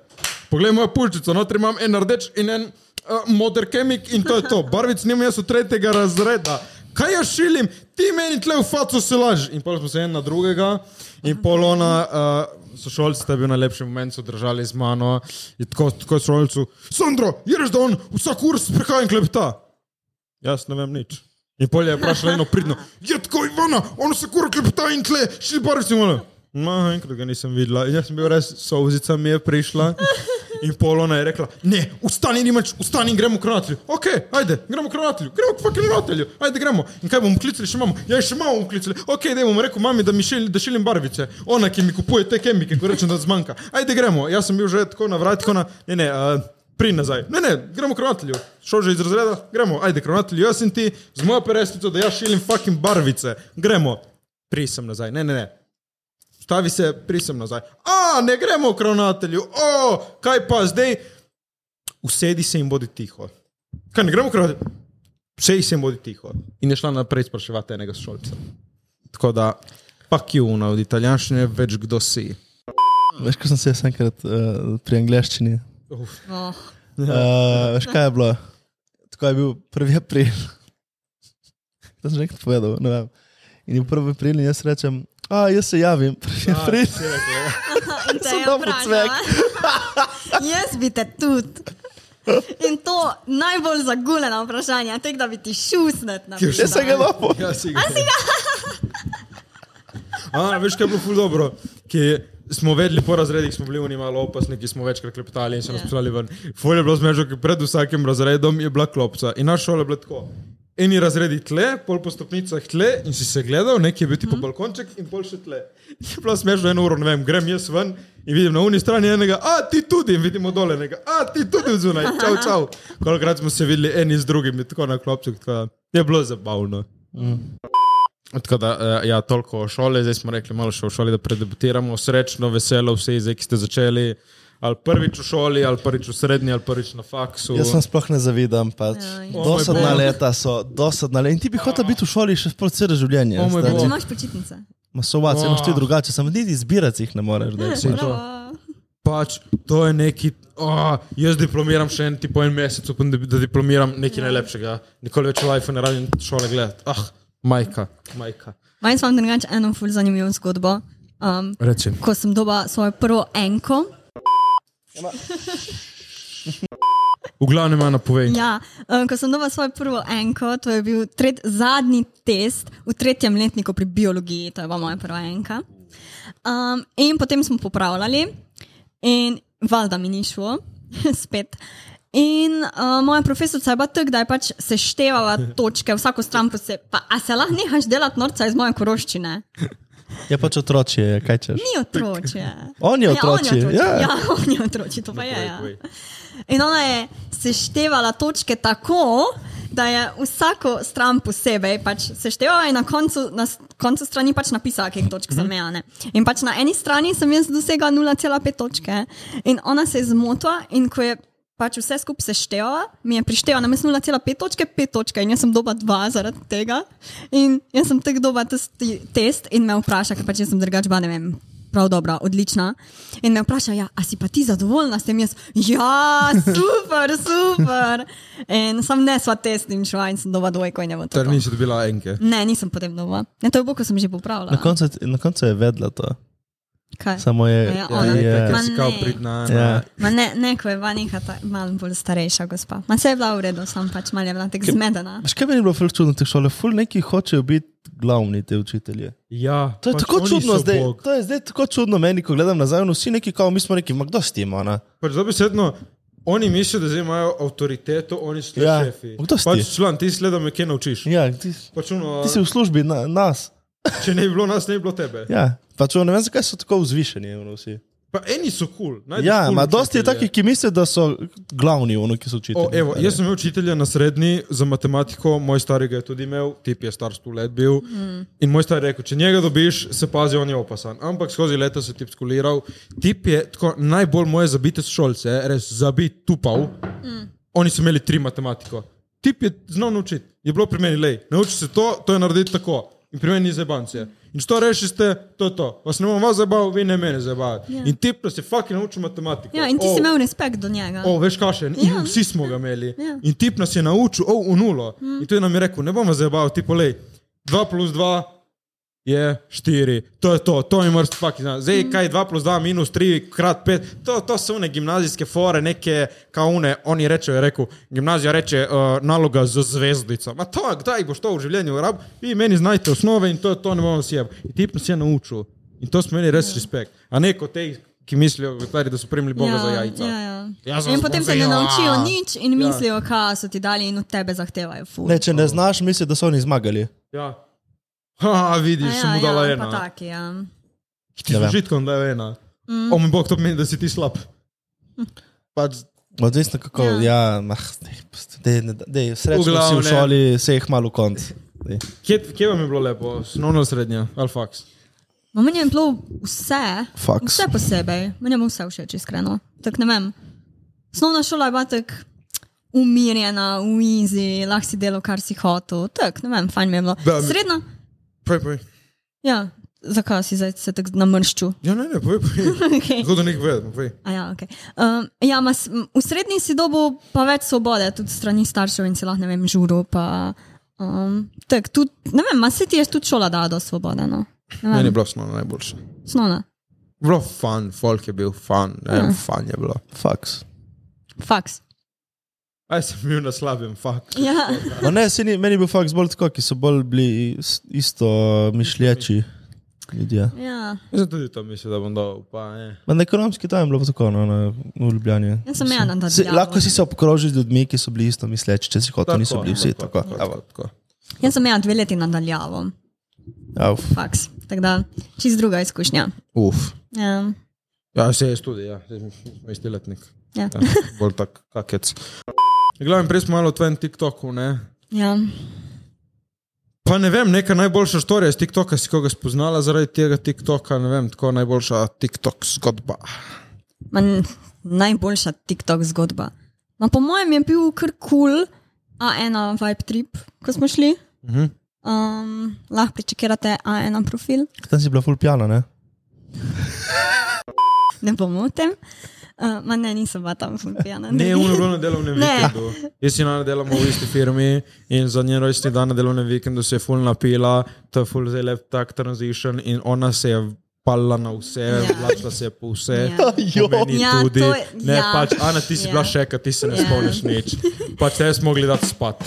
Speaker 4: Poglej mojo pulčico, notri imam en rdeč in en uh, moder kemik in to je to. Barvic nimam jaz od tretjega razreda. Kaj jaz šilim, ti meni tle v facu se laž. In pol smo se en na drugega in pol ona, uh, sošolci ste bili na lepšem momentu, držali z mano in tako, tako sošolcu. Sandro, ješ da on vsak ur sprehajam klepeta. Jaz ne vem nič. In polje je vprašala eno pridno, je tako Ivana, on se kuro klepeta in tle, šli barvici mole. No, enkrat ga nisem videla in jaz sem bil res, sozica mi je prišla. In polona je rekla, ne, ustani, nimač, ustani in gremo k ravnatelju. Ok, ajde, gremo k ravnatelju, gremo k fucking ravnatelju, ajde gremo. In kaj bomo klicali, še imamo, ja, še imamo bomo klicali. Ok, da bom rekel mami, da mi šil, da šilim barvice, ona, ki mi kupuje te kemike, ko rečem, da zmanjka. Ajde gremo, jaz sem bil že tako na vrat, tako na, ne, ne, uh, Pri nazaj. Ne, ne, gremo k ravnatelju. Šel že iz razreda, gremo, ajde k ravnatelju, jaz in ti, z mojo peresnico, da jaz šilim fucking barvice. Gremo. Pri sem nazaj, ne, ne, ne. Stavi se, pri sem nazaj. A, ne gremo k ravnatelju, o, kaj pa zdaj? Usedi se in bodi tiho. Kaj ne gremo k ravnatelju? Usedi se in bodi tiho. In je šla naprej spraševati enega šolca. Tako da, pak je una, od italijanščine več kdo si.
Speaker 3: Veš, ko sem se jaz enkrat uh, pri angleščini.
Speaker 1: Oh.
Speaker 3: Uh, veš, kaj je bilo? Tako je bil 1. april. (laughs) To sem že enkrat povedal, ne vem. In je bil 1. april in jaz rečem, a jaz se javim, 1. april.
Speaker 1: (laughs) In te
Speaker 3: Sem
Speaker 1: je
Speaker 3: dal
Speaker 1: vprašala.
Speaker 3: pocvek.
Speaker 1: (laughs) Jaz bi te tudi. In to najbolj zaguljena vprašanja, tek da bi ti šusnet na
Speaker 3: (laughs) Jaz sem ga lopo.
Speaker 4: Ja, si ga. A, veš, kaj je bilo ful dobro, ki smo vedeli po razredih, smo bili oni malo opasni, ki smo večkrat klepetali in so nas
Speaker 1: Ja.
Speaker 4: poslali ven. Ful je bilo zmežo, ker pred vsakim razredom je bila klopca in naša šola je bila tako. Eni razredi tle, pol po stopnicah tle in si se gledal, nekje je bil ti po balkonček in pol še tle. (laughs) Je bilo smešno eno uro, ne vem, grem jaz ven in vidim na uni strani enega, a ti tudi, in vidimo dole enega, a ti tudi zunaj, čau, čau. Kolikrat smo se videli eni z drugimi, tako na klopcu, tako da je bilo zabavno. Tako da, eh, ja, toliko o šoli, zdaj smo rekli malo še o šoli, da predebatiramo. Srečno, veselo vsi, zdaj ki ste začeli. Ali prvič v šoli, ali prvič v srednji, ali prvič na faksu.
Speaker 3: Jaz vam sploh ne zavidam, pač.
Speaker 1: Aj.
Speaker 3: Oh dosadna
Speaker 4: Oh my God.
Speaker 3: leta so, dosadna leta. In ti bi hotel biti v šoli še sploh celo življenje.
Speaker 4: Oh my
Speaker 1: Če
Speaker 3: stari.
Speaker 4: God.
Speaker 1: imaš počitnice.
Speaker 3: Masovac,
Speaker 4: Oh.
Speaker 3: oh. imaš ti drugače, samo niti izbirati jih ne moreš. da jih-
Speaker 4: Saj to.
Speaker 1: Bravo.
Speaker 4: Pač, to je neki, oh, jaz diplomiram še en, tipo en mesec, upam, da, da diplomiram nekaj najlepšega. Nikoli več v iPhone ne rabim šole gledati. Ah, majka, majka.
Speaker 1: Maj sem vam drugače eno ful zanimivo zgodbo. Um,
Speaker 4: Reči.
Speaker 1: ko sem doba svojo prvo enko,
Speaker 4: V glavnem ima napovej.
Speaker 1: ja, um, ko sem doba svojo prvo enko, to je bil tret, zadnji test v tretjem letniku pri biologiji, to je bila moja prva enka. Um, in potem smo popravljali, in valjda mi ni šlo, (laughs) spet. In uh, moja profesorica je bila tako, da je pač seštevala točke, vsako stran posebej. Pa a se lahko nehaš delati norca iz moje koroščine?
Speaker 3: Je pač otročje, kaj češ.
Speaker 1: Ni otročje.
Speaker 3: (laughs) On je
Speaker 1: Ja,
Speaker 3: otročje.
Speaker 1: on je otročje,
Speaker 3: Ja.
Speaker 1: ja, (laughs) on je otročje to pa je. Ja. In ona je seštevala točke tako, da je vsako stran posebej pač seštevala in na koncu, na s- koncu strani pač napisala, kje točke
Speaker 3: Mhm.
Speaker 1: so mejane. In pač na eni strani sem jaz dosegla 0,5 točke in ona se je zmotila in ko je pač vse skupaj seštela, mi je prištela na mestu 0,5 točke, 5 točke in jaz sem doba 2 zaradi tega. In jaz sem tek doba tisti test in me vpraša, ker pač jaz sem drugačba, ne vem. Prav dobra, odlična. In me vpraša, ja, a si pa ti zadovoljna s tem? Jaz, ja, super, super. In sam ne sva test in šla in sem doba dvojko in je bilo to.
Speaker 3: Torej
Speaker 4: Ter
Speaker 1: to.
Speaker 4: nisi dobila enke.
Speaker 1: Ne, nisem potem doba. Ne, to je bilo, ko sem že popravila.
Speaker 3: Na koncu, na koncu je vedela to.
Speaker 1: Kaj?
Speaker 3: Samo je.
Speaker 1: Ja, ona.
Speaker 3: je-
Speaker 4: Ker
Speaker 1: Ma
Speaker 4: si kao
Speaker 1: ne.
Speaker 4: pridna.
Speaker 3: Ja.
Speaker 4: Ja.
Speaker 1: Ma ne, ne, ko je bila neka ta, malo bolj starejša gospa. Ma se je bila v redu, sam pač malo je bila tek zmedena.
Speaker 3: Veš, kaj meni je bilo ful čudno, te šole, ful neki hočejo biti glavni te učitelje.
Speaker 4: ja
Speaker 3: To je
Speaker 4: pač
Speaker 3: pač tako
Speaker 4: oni
Speaker 3: čudno
Speaker 4: so
Speaker 3: zdaj.
Speaker 4: Bog.
Speaker 3: To je zdaj tako čudno meni, ko gledam nazaj, no vsi neki kao, mi smo neki, ma kdo s tem, ona?
Speaker 4: Pač dobesedno, oni mislijo, da zdaj imajo avtoriteto, oni so
Speaker 3: Ja.
Speaker 4: ja. šefi.
Speaker 3: Kdo si ti?
Speaker 4: Pač član, ti sleda me kje naučiš. Ja.
Speaker 3: Ja, ti,
Speaker 4: Pač ono,
Speaker 3: ti si v službi na, nas.
Speaker 4: če ne bi bilo nas, ne bi bilo tebe. Ja.
Speaker 3: Ja, pač ono, ne vem, zakaj so tako vzvišeni. Ono, vsi.
Speaker 4: Pa eni so kul. Cool,
Speaker 3: ja, ma dosti je takih, ki mislijo, da so glavni, ono, ki so učitelji.
Speaker 4: O, evo, jaz sem imel učitelja na srednji za matematiko, moj starega je tudi imel, tip je star 100 let bil. Mm. In moj star je rekel, če njega dobiš, se pazi, on je opasan. Ampak skozi leta se je tip skuliral. Tip je tako najbolj moje zabite šolce, res zabit tupav. Mm. Oni so imeli tri matematiko. Tip je znal naučiti, je bilo pri meni, lej, nauči se to, to je narediti tako. In pri meni ni zebancije. In če to rešite, to je to. Vas ne bom vas zabaval, vi ne mene zabavate.
Speaker 1: Ja.
Speaker 4: Yeah. In tip nas je fucking naučil matematiko.
Speaker 1: Ja, in ti
Speaker 4: Oh.
Speaker 1: si imel respekt do njega.
Speaker 4: O, veš, kašen, in
Speaker 1: Ja.
Speaker 4: vsi smo ga imeli.
Speaker 1: Ja. Mm.
Speaker 4: In tip nas je naučil, o, v nulo. In tudi nam je rekel, ne bomo zabaval, ti polej. 2 plus 2 je 4, to je to, to je mrst, fucking zna. Zdaj,
Speaker 1: Mm.
Speaker 4: kaj je 2 plus 2 minus 3 krat 5, to, to so une gimnazijske fore, neke kaune, oni rečejo, je rekel, gimnazija reče uh, naloga z zvezdico. Ma to, kdaj boš to v življenju rab, vi meni znajte osnove in to, je to ne bomo sijeb. In tip nas je naučil. In to smo imeli
Speaker 1: Ja.
Speaker 4: res respekt. A ne kot te, ki mislijo, v stvari, da so primili Boga za jajca.
Speaker 1: Ja, ja.
Speaker 4: Jaz vas
Speaker 1: In potem
Speaker 4: bom
Speaker 1: se ne
Speaker 4: zajela.
Speaker 1: naučijo nič in mislijo, ja. kaj so ti dali in od tebe zahtevajo. Ful.
Speaker 3: Ne, če ne znaš, misliš, da so oni zmagali.
Speaker 4: Ja. Ha,
Speaker 1: A
Speaker 4: vidiš, ja, sem mu dala ja,
Speaker 1: Pa
Speaker 4: ena.
Speaker 1: taki, ja.
Speaker 4: Ti
Speaker 3: Ne
Speaker 4: si
Speaker 3: vem.
Speaker 4: užitkom dala ena. Mm. O moj bog, to pomeni, da si ti slab. Pač,
Speaker 3: Odvisno kako,
Speaker 1: Ja.
Speaker 3: ja, mah, dej, ne- dej, srečo si v
Speaker 4: glavnem.
Speaker 3: šoli, se jih malo konc. Dej.
Speaker 4: kje, kje vam je bilo lepo? Snovno srednja, ali faks?
Speaker 1: Ma Meni je bilo vse,
Speaker 3: Faks.
Speaker 1: vse posebej, meni je bilo vse všeč, iskreno. Tako ne vem. Osnovna šola je bila tako umirjena, v izi, lahko si delal, kar si hotel. Tako ne vem, fajn mi je bilo.
Speaker 4: Da, mi-
Speaker 1: Srednja,
Speaker 4: Poj, poj.
Speaker 1: ja, zakaj si zdaj se tako (laughs) namrščil?
Speaker 4: Ja, ne, ne, poj, poj. (laughs)
Speaker 1: Okay.
Speaker 4: Zelo do njih vedem, poj.
Speaker 1: A Ja, okay. um, ja, ma, s- m, v srednji si dobil pa več svobode, tudi strani staršev in si lahko, ne vem, žuro. Pa, um, tak, tudi, ne vem, ma se ti je tudi šola dala do svobode. No?
Speaker 4: Meni je bilo snovno najboljše.
Speaker 1: Snona,
Speaker 4: Bilo fun, folk je bil fun, ne vem, fun je bilo.
Speaker 3: Faks.
Speaker 1: faks.
Speaker 4: Aj sem bil na slabem, fakt.
Speaker 1: Ja.
Speaker 3: Ma ne, saj ni, meni je bil faks bolj tako, ki so bolj bili is- isto mišlječi ljudje.
Speaker 1: (laughs) ja.
Speaker 4: Jaz sem tudi to mislil, da bom dal, pa ne.
Speaker 3: Ma na ekonomski tam je bilo pa tako, no, na, v Ljubljani.
Speaker 1: Jaz sem ja ena na
Speaker 3: Si,
Speaker 1: dveh.
Speaker 3: lahko si se obkrožil z ljudmi, ki so bili isto misleči, če si hotel, niso bili vsi tako.
Speaker 4: tako, tako.
Speaker 1: Jaz sem ena dve leti nadaljavo,
Speaker 3: Av,
Speaker 1: faks. Tako da, čist druga izkušnja.
Speaker 4: Uf.
Speaker 1: Ja.
Speaker 4: Ja, se je tudi, ja, Saj smo isti letnik.
Speaker 1: Ja.
Speaker 4: Ja, bolj tak, kakec. Ja, Glavno, prej smo malo o tvojem TikToku, ne?
Speaker 1: Ja.
Speaker 4: Pa ne vem, neka najboljša storija iz TikToka, si koga spoznala zaradi tega TikToka, ne vem, tako najboljša TikTok zgodba.
Speaker 1: Ma, n- najboljša TikTok zgodba. Ma, po mojem je bil kar kul, cool, a ena vibe trip, ko smo šli.
Speaker 4: Mhm.
Speaker 1: Um, lahko pričakirate A1 profil,
Speaker 3: tam si bila full pijana, ne?
Speaker 1: ne bomo o tem. Uh, ma ne, nisem bila tam pijana.
Speaker 4: Ne, uno je bilo na delovnem
Speaker 1: Ne.
Speaker 4: vikendu. Jaz in ona delamo v isti firmi in za njen rojstni dan na delovnem vikendu se je ful napila, to je ful zelo lep tak transition in ona se je palila na vse,
Speaker 1: Ja.
Speaker 4: vlačila se je po vse.
Speaker 1: Ja.
Speaker 3: Jo.
Speaker 4: Meni
Speaker 1: Ja,
Speaker 4: tudi.
Speaker 1: to je-
Speaker 4: Ne,
Speaker 1: ja.
Speaker 4: pač, Ana, ti si
Speaker 1: Ja.
Speaker 4: bila še, kaj ti se ne
Speaker 1: Ja.
Speaker 4: spomniš nič. Pač te smo gledali spat.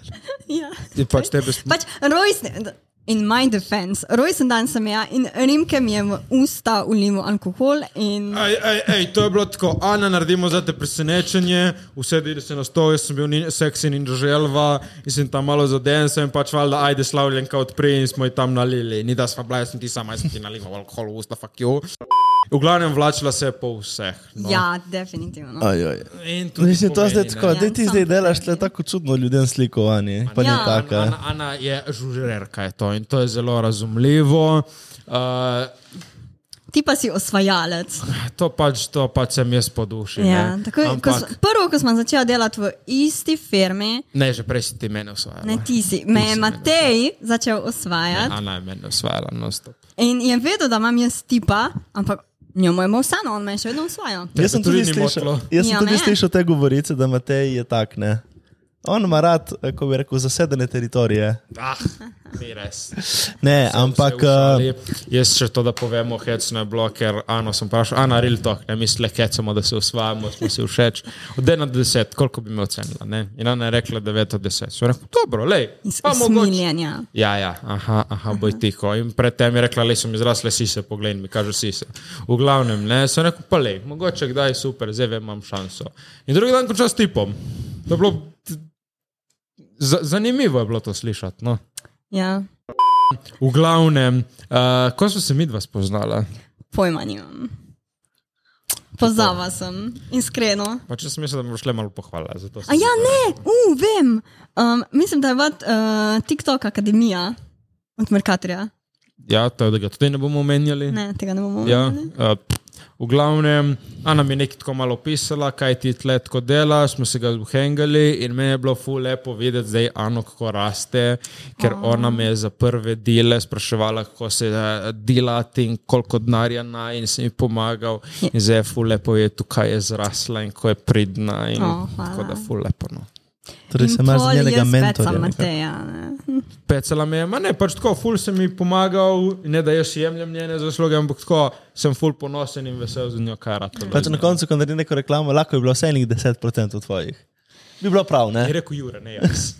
Speaker 1: (laughs) ja.
Speaker 4: Ti pač tebe sp-
Speaker 1: Pač rojstni. In my defense, rojsten dan sem ja in Rimke mi je v usta ulil alkohol in
Speaker 4: Ej, ej, ej, to je bilo tako, Ana, naredimo za te presenečenje, usedili se na stol, jaz sem bil ni, seksi in želva in sem tam malo zaden, sem pač valjda, ajde slavljenka odprej in smo ji tam nalili. Ni da sva bila, jaz sem ti sama, jaz sem ti nalil alkohol v usta, fuck you. V glavnem vlačila se je po vseh. No.
Speaker 1: ja, definitivno.
Speaker 3: Ajoj.
Speaker 4: In tudi
Speaker 3: Mislim, to zdaj
Speaker 4: pomeni,
Speaker 3: tako,
Speaker 4: ne.
Speaker 1: Ja,
Speaker 3: da ti
Speaker 1: sam
Speaker 3: zdaj delaš
Speaker 1: pomeni.
Speaker 3: tle tako čudno ljudem slikovanje, pa ni
Speaker 1: Ja.
Speaker 3: taka.
Speaker 4: Ana, Ana je žužerka, je to in to je zelo razumljivo. Uh,
Speaker 1: Ti pa si osvajalec.
Speaker 4: to pač, to pač sem jaz po duši.
Speaker 1: Ja,
Speaker 4: ne.
Speaker 1: tako, je, ko, s-
Speaker 4: Ampak,
Speaker 1: prvo, ko sem začela delati v isti firmi,
Speaker 4: ne, že prej si ti mene usvajala.
Speaker 1: ne ti si, me je
Speaker 4: si mene
Speaker 1: Matej začel osvajati
Speaker 4: Ana je mene usvajala, no stop.
Speaker 1: in je vedel, da imam jaz tipa, ampak njemu je bilo vseeno, on me je še vedno osvajal.
Speaker 3: Jaz sem
Speaker 4: Tebe tudi
Speaker 3: tudi,
Speaker 4: ni
Speaker 3: slišal,
Speaker 4: motilo.
Speaker 3: jaz sem
Speaker 1: Ja,
Speaker 3: tudi
Speaker 1: ne.
Speaker 3: slišal te govorice, da Matej je tak. Ne? On ima rad, eh, kako bi rekel, zasedene teritorije.
Speaker 4: Ah, ni res.
Speaker 3: Ne, ampak eh,
Speaker 4: Vse usvali. jaz še to, da povemo, hecno je bilo, ker Ano sem vprašal, Ana, real talk, ne misle, hecamo, da se usvajamo, smo si všeč. Od 1 do 10, koliko bi me ocenila? Ne? In Ana je rekla 9 od 10. Sem rekel, dobro, lej,
Speaker 1: Iz
Speaker 4: pa mogoče.
Speaker 1: usmiljenja.
Speaker 4: Ja, ja, aha, aha, boj tiho. In predtem je rekla, le sem izrasla sise, poglej, mi kaže sise. V glavnem, ne, sem rekel, pa le, mogoče kdaj super, zdaj vem, imam šanso. In drugi dan končal s tipom. To je bilo, t- za- zanimivo je bilo to slišati. No.
Speaker 1: Ja,
Speaker 4: V glavnem, uh, ko so se midva spoznala,
Speaker 1: pojma nimam. Pozava sem, iskreno.
Speaker 4: pač jaz sem mislil, da mi boš le malo pohvala. zato
Speaker 1: A
Speaker 4: sem-
Speaker 1: ja, ne, uh, vem. Um, mislim, da je vat uh, TikTok akademija od Merkatorja.
Speaker 4: Ja, to je, da ga tudi ne bomo omenjali.
Speaker 1: Ne, tega ne bomo.
Speaker 4: Ja,
Speaker 1: omenili.
Speaker 4: uh, v glavnem, Ana mi je nekaj tako malo opisala, kaj ti tle tako dela, smo se ga zbuhengali in meni je bilo ful lepo videti, zdaj Ano kako raste, ker oh. ona me je za prve dele spraševala, kako se eh, delati in koliko denarja naj in sem ji pomagal. In zdaj je ful lepo je tukaj je zrasla in ko je pridna in
Speaker 1: Oh,
Speaker 4: oh,
Speaker 1: hvala.
Speaker 4: tako da ful lepo. No.
Speaker 3: torej
Speaker 1: In
Speaker 3: sem jaz
Speaker 1: pol
Speaker 3: njenega
Speaker 1: jaz
Speaker 3: mentorja.
Speaker 1: pecam
Speaker 3: nekako.
Speaker 1: Mateja, ne.
Speaker 4: Pecala me je, ma ne, pač tako, ful sem ji pomagal, ne da jaz jemljem njene zasluge, ampak tako sem ful ponosen in vesel za njo, kaj rata.
Speaker 3: Pač na koncu, ko naredi neko reklamo, lahko je bilo vse enih 10% tvojih. Bi bilo prav,
Speaker 4: Je
Speaker 3: ne?
Speaker 4: rekel Jure, ne
Speaker 3: (laughs)
Speaker 4: jaz.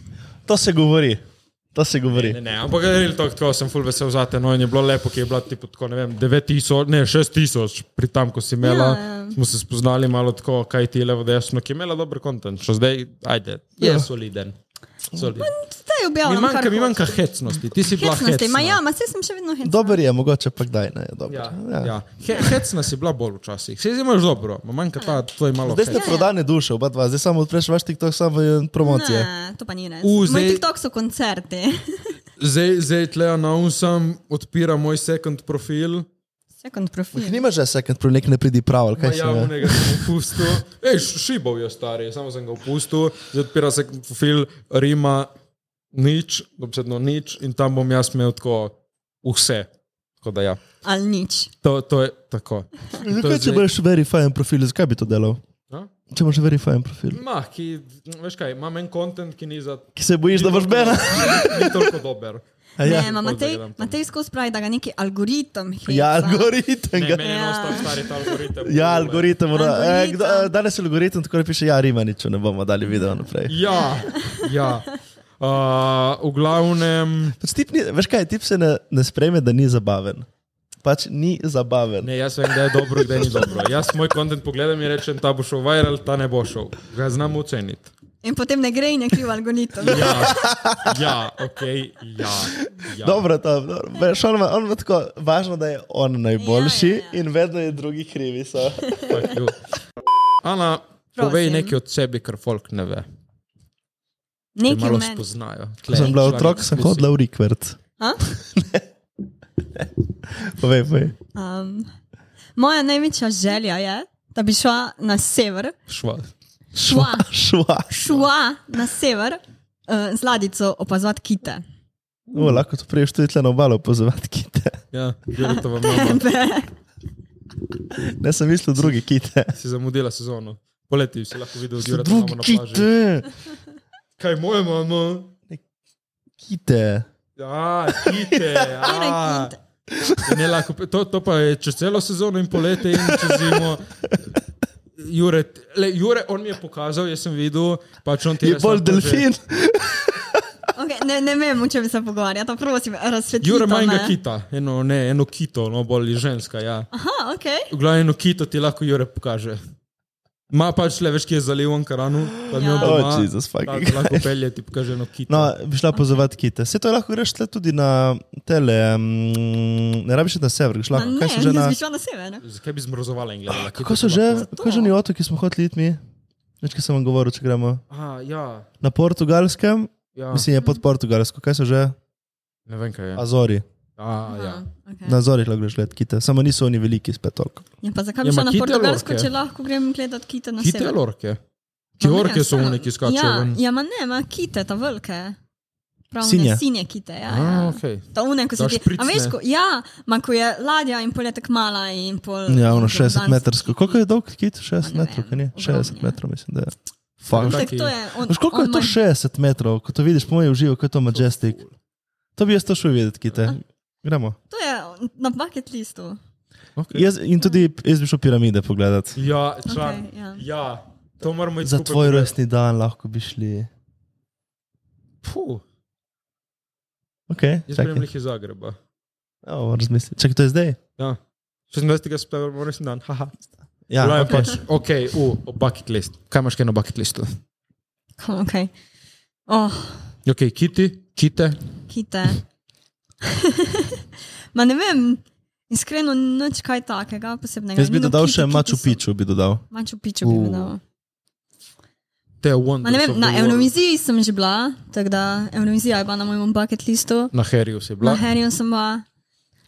Speaker 3: To se govori. To se govori.
Speaker 4: Ne, ne, ampak real talk, tako sem full vesel za te, no in je bilo lepo, ki je bila tipo tako, ne vem, 9000, ne 6000, pri tam, ko si imela,
Speaker 1: Ja, ja.
Speaker 4: ja, ja. smo se spoznali malo tako, kaj ti je levo, desno, ki je imela dober kontent, še zdaj, ajde, je
Speaker 3: Ja.
Speaker 4: ja. soliden. soliden.
Speaker 1: Zdaj
Speaker 4: Mi
Speaker 1: objavljam.
Speaker 4: manjka,
Speaker 1: ja, kar
Speaker 4: mi
Speaker 1: hočem.
Speaker 4: manjka hecnosti, ti si bila
Speaker 1: Hecnosti, ma
Speaker 4: hecna.
Speaker 1: ja, ma se sem še vedno hecna.
Speaker 3: Dober je, mogoče pa kdaj ne. je dober.
Speaker 4: Ja,
Speaker 3: Ja.
Speaker 4: ja. He, hecna si bila bolj včasih, se imaš dobro, ma manjka ta tvoj malo.
Speaker 3: Zdaj ste
Speaker 1: Ja, ja.
Speaker 3: prodane duše, oba dva, zdaj samo odpreš vaš TikTok, samo eh, je promocija.
Speaker 1: Ne, to pa ni res.
Speaker 4: U,
Speaker 1: Moj
Speaker 4: zdaj-
Speaker 1: TikTok so koncerti.
Speaker 4: Zdaj, zdaj tle announcem, odpira moj second profil.
Speaker 1: (laughs) Second profil.
Speaker 3: Nimaš že sekund, prav nek ne pridi prav, ali kaj še. ne?
Speaker 4: Javnega sem (laughs) opustil. Ej, š- šibal je stari, samo sem ga opustil, zdaj odpira se profil Rima, nič, obsedno nič in tam bom jaz imel tako vse. Tako da ja,
Speaker 1: Ali nič.
Speaker 4: to, to je tako. In to je
Speaker 3: Zakaj, če
Speaker 4: zdaj-
Speaker 3: imaš verifyen profil, zakaj bi to delal?
Speaker 4: A?
Speaker 3: Če imaš verifyen profil.
Speaker 4: Ma, ki, veš kaj, imam en kontent, ki ni za...
Speaker 3: Ki se bojiš, da boš bena.
Speaker 4: (laughs) Ni toliko
Speaker 3: (laughs)
Speaker 4: dober.
Speaker 3: A
Speaker 1: Ja,
Speaker 3: Ja,
Speaker 1: ne, ma
Speaker 4: pol
Speaker 1: Matej,
Speaker 4: zagledam to.
Speaker 1: Matej skozi pravi, da ga neki algoritem heca.
Speaker 3: ja algoritem.
Speaker 4: Ne,
Speaker 3: ga-
Speaker 4: meni je
Speaker 1: Ja.
Speaker 4: ostal stari ta algoritem.
Speaker 3: Ja, algoritem. mora-
Speaker 1: Algoritem.
Speaker 3: E, kdo- e, Danes je algoritem, tako da piše, ja, Rimaniču ne bomo dali video naprej.
Speaker 4: Ja, ja. Uh, v glavnem...
Speaker 3: Pač tip ni, veš kaj, tip se ne, ne spreme, da ni zabaven. Pač ni zabaven.
Speaker 4: Ne, jaz vem, da je dobro, da ni dobro. Jaz moj kontent pogledam in rečem, ta bo šel viral, ta ne bo šel. Ga znam oceniti.
Speaker 1: In potem ne gre in je kriv algoritem.
Speaker 4: Ja, ja ok, ja. ja.
Speaker 3: Dobro, to, dobro. Veš, on ima, on ima tako važno, da je on najboljši
Speaker 1: Ja,
Speaker 3: ja, ja,
Speaker 1: ja,
Speaker 3: ja. in vedno je drugi krivi. So.
Speaker 4: Fuck you. Ana,
Speaker 1: Prosim.
Speaker 4: povej nekaj od sebe, kar folk ne ve. Če
Speaker 1: Neki
Speaker 4: malo
Speaker 1: meni.
Speaker 4: spoznajo.
Speaker 3: Ko sem bila otrok, sem hodila v Rikvert. (laughs)
Speaker 1: A?
Speaker 3: Povej, povej.
Speaker 1: Um, moja največja želja je, da bi šla na sever,
Speaker 4: Šva.
Speaker 1: šla,
Speaker 3: Šva.
Speaker 1: šla na sever uh, z ladico opazovati kite.
Speaker 3: O,
Speaker 1: Mm.
Speaker 3: lahko to priješ tudi tle na obalo pozvati kite.
Speaker 4: Ja, Juretova mama.
Speaker 1: (laughs)
Speaker 3: Ne sem mislil drugi kite.
Speaker 4: Si zamudila sezono. Poleti si lahko videl, da je
Speaker 3: Drugi
Speaker 4: na plaži.
Speaker 3: kite.
Speaker 4: Kaj moje mamo?
Speaker 3: Kite.
Speaker 4: Ja, kite. Ja.
Speaker 1: kite.
Speaker 4: In Ne, lahko, to, to pa je čez celo sezono in poletje in čez zimo. Jure, le, Jure, on mi je pokazal, jaz sem videl, pač on ti
Speaker 3: Je
Speaker 4: res
Speaker 3: bolj
Speaker 4: lahko že-
Speaker 3: delfin.
Speaker 1: Okay, Ne, ne vem, o čem se pogovarjata, prosim, razsvetlite.
Speaker 4: Jure
Speaker 1: me.
Speaker 4: manjka kita, eno, ne, eno kito, no bolj ženska. Ja.
Speaker 1: Aha, ok.
Speaker 4: V glavnem eno kito ti lahko Jure pokaže. Ma pač le veš, ki je zaliv v Ankaranu, tam je
Speaker 1: Ja.
Speaker 3: Oh,
Speaker 4: doma.
Speaker 3: Jezus,
Speaker 4: Tako
Speaker 3: fucking.
Speaker 4: lahko pelje ti pokaže eno kito.
Speaker 3: No, bi šla pozvati kite. Se to lahko greš tle tudi na tele, mm, ne rabiš iti na sever, greš
Speaker 1: Ma
Speaker 3: lahko.
Speaker 1: Ne,
Speaker 3: Kaj so že na...
Speaker 1: jaz bi šla na sever.
Speaker 4: Zakaj bi zmrzovala in gledala?
Speaker 3: Ah, Kako so že, kako že ni otoki, smo hoteli iti mi? Več, ki sem vam govoril, če gremo.
Speaker 4: A, ja,
Speaker 3: Na portugalskem,
Speaker 4: ja.
Speaker 3: mislim, je pod portugalsko, kaj so že?
Speaker 4: Ne vem, kaj je.
Speaker 3: Azori.
Speaker 4: A, ja.
Speaker 1: Okay.
Speaker 3: Na Azorih lahko greš gledati kite, samo niso oni veliki spet toliko.
Speaker 1: Ja, pa zakaj
Speaker 4: Ja,
Speaker 1: bi šla
Speaker 4: ma
Speaker 1: na
Speaker 4: kite
Speaker 1: Portugalsko,
Speaker 4: lorke.
Speaker 1: če lahko grem gledat kite na
Speaker 4: Kite
Speaker 1: sever?
Speaker 4: lorke. Ki
Speaker 1: Ma ne,
Speaker 4: orke so
Speaker 1: saj.
Speaker 4: oni, ki skačejo
Speaker 1: Ja,
Speaker 4: ven.
Speaker 1: ja, ma ne, ma kite, ta velike. Pravne
Speaker 3: Sinje. Ah,
Speaker 1: sinje kite, ja.
Speaker 4: A,
Speaker 1: ja.
Speaker 4: okay.
Speaker 1: Ta une, ko se
Speaker 4: Ta
Speaker 1: ti... A
Speaker 4: špricne.
Speaker 1: veš, ko, ja, ma ko je ladja in pol je tako mala in pol...
Speaker 3: Ja, ono
Speaker 1: in pol
Speaker 3: 60
Speaker 1: danski
Speaker 3: metrov.
Speaker 1: kiti.
Speaker 3: Koliko je dolg kit? 60
Speaker 1: Ma ne
Speaker 3: metrov,
Speaker 1: vem,
Speaker 3: kaj ni?
Speaker 1: ogromno
Speaker 3: 60
Speaker 1: je.
Speaker 3: metrov, mislim, da je. Fuck.
Speaker 1: Tako
Speaker 4: Taki-
Speaker 1: to je... On,
Speaker 3: Veš, koliko
Speaker 1: on
Speaker 3: je to
Speaker 1: moj-
Speaker 3: 60 metrov, ko to vidiš, po mojem uživo, ko je to majestic. To bi jaz to šel videti, kite. Gremo.
Speaker 1: To je na bucket listu.
Speaker 4: Okay.
Speaker 3: Jaz, in tudi jaz bi šel piramide pogledati.
Speaker 4: Ja,
Speaker 1: Okej,
Speaker 4: član.
Speaker 1: ja.
Speaker 4: Okay, ja. ja, to moramo iti
Speaker 3: Za
Speaker 4: skupaj
Speaker 3: tvoj
Speaker 4: pogledat.
Speaker 3: rojstni dan lahko bi šli.
Speaker 4: Puh,
Speaker 3: Okay,
Speaker 4: jaz
Speaker 3: čakaj.
Speaker 4: grem lih iz Zagreba.
Speaker 3: Ja, moram razmisliti. Čakaj, to je zdaj?
Speaker 4: Ja. 16. septembra bo resni dan. Haha.
Speaker 3: Ja,
Speaker 4: Ja,
Speaker 3: okay.
Speaker 4: okay. pač, ok, u, o bucket list. Kaj imaš kaj na bucket listu?
Speaker 1: Kom, okay. Oh,
Speaker 4: Ok, kiti, kite.
Speaker 1: kite. (laughs) ma ne vem, iskreno, nič kaj takega posebnega.
Speaker 3: Jaz bi
Speaker 1: No,
Speaker 3: dodal
Speaker 1: kiti,
Speaker 3: še
Speaker 1: kiti
Speaker 3: Machu
Speaker 1: so-
Speaker 3: Picchu, Uh. bi dodal.
Speaker 1: Machu Picchu bi
Speaker 4: U.
Speaker 1: dodal.
Speaker 4: Te
Speaker 1: Ma
Speaker 4: wonders.
Speaker 1: ne vem,
Speaker 4: of
Speaker 1: na
Speaker 4: the world.
Speaker 1: Euroviziji sem že bila, tako da Eurovizija je bila na mojem bucket listu,
Speaker 4: Na Herju si
Speaker 1: na
Speaker 4: bila.
Speaker 1: Herju sem bila.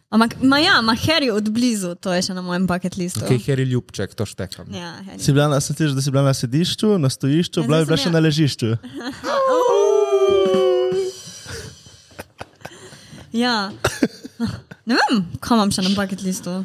Speaker 1: Ampak, ma ja, ma Herju od blizu, to je še na mojem bucket listu.
Speaker 4: Ok, Heri ljubček, to štekam.
Speaker 1: Ja, Harry.
Speaker 3: Si bila na, sem slišal, da si bila na sedišču, na stojišču,
Speaker 1: Ja,
Speaker 3: bila
Speaker 1: zdaj
Speaker 3: bi bila
Speaker 1: sem
Speaker 3: še
Speaker 1: ja.
Speaker 3: na ležišču.
Speaker 1: ja. (laughs) Ne vem, kam imam še na bucket listu.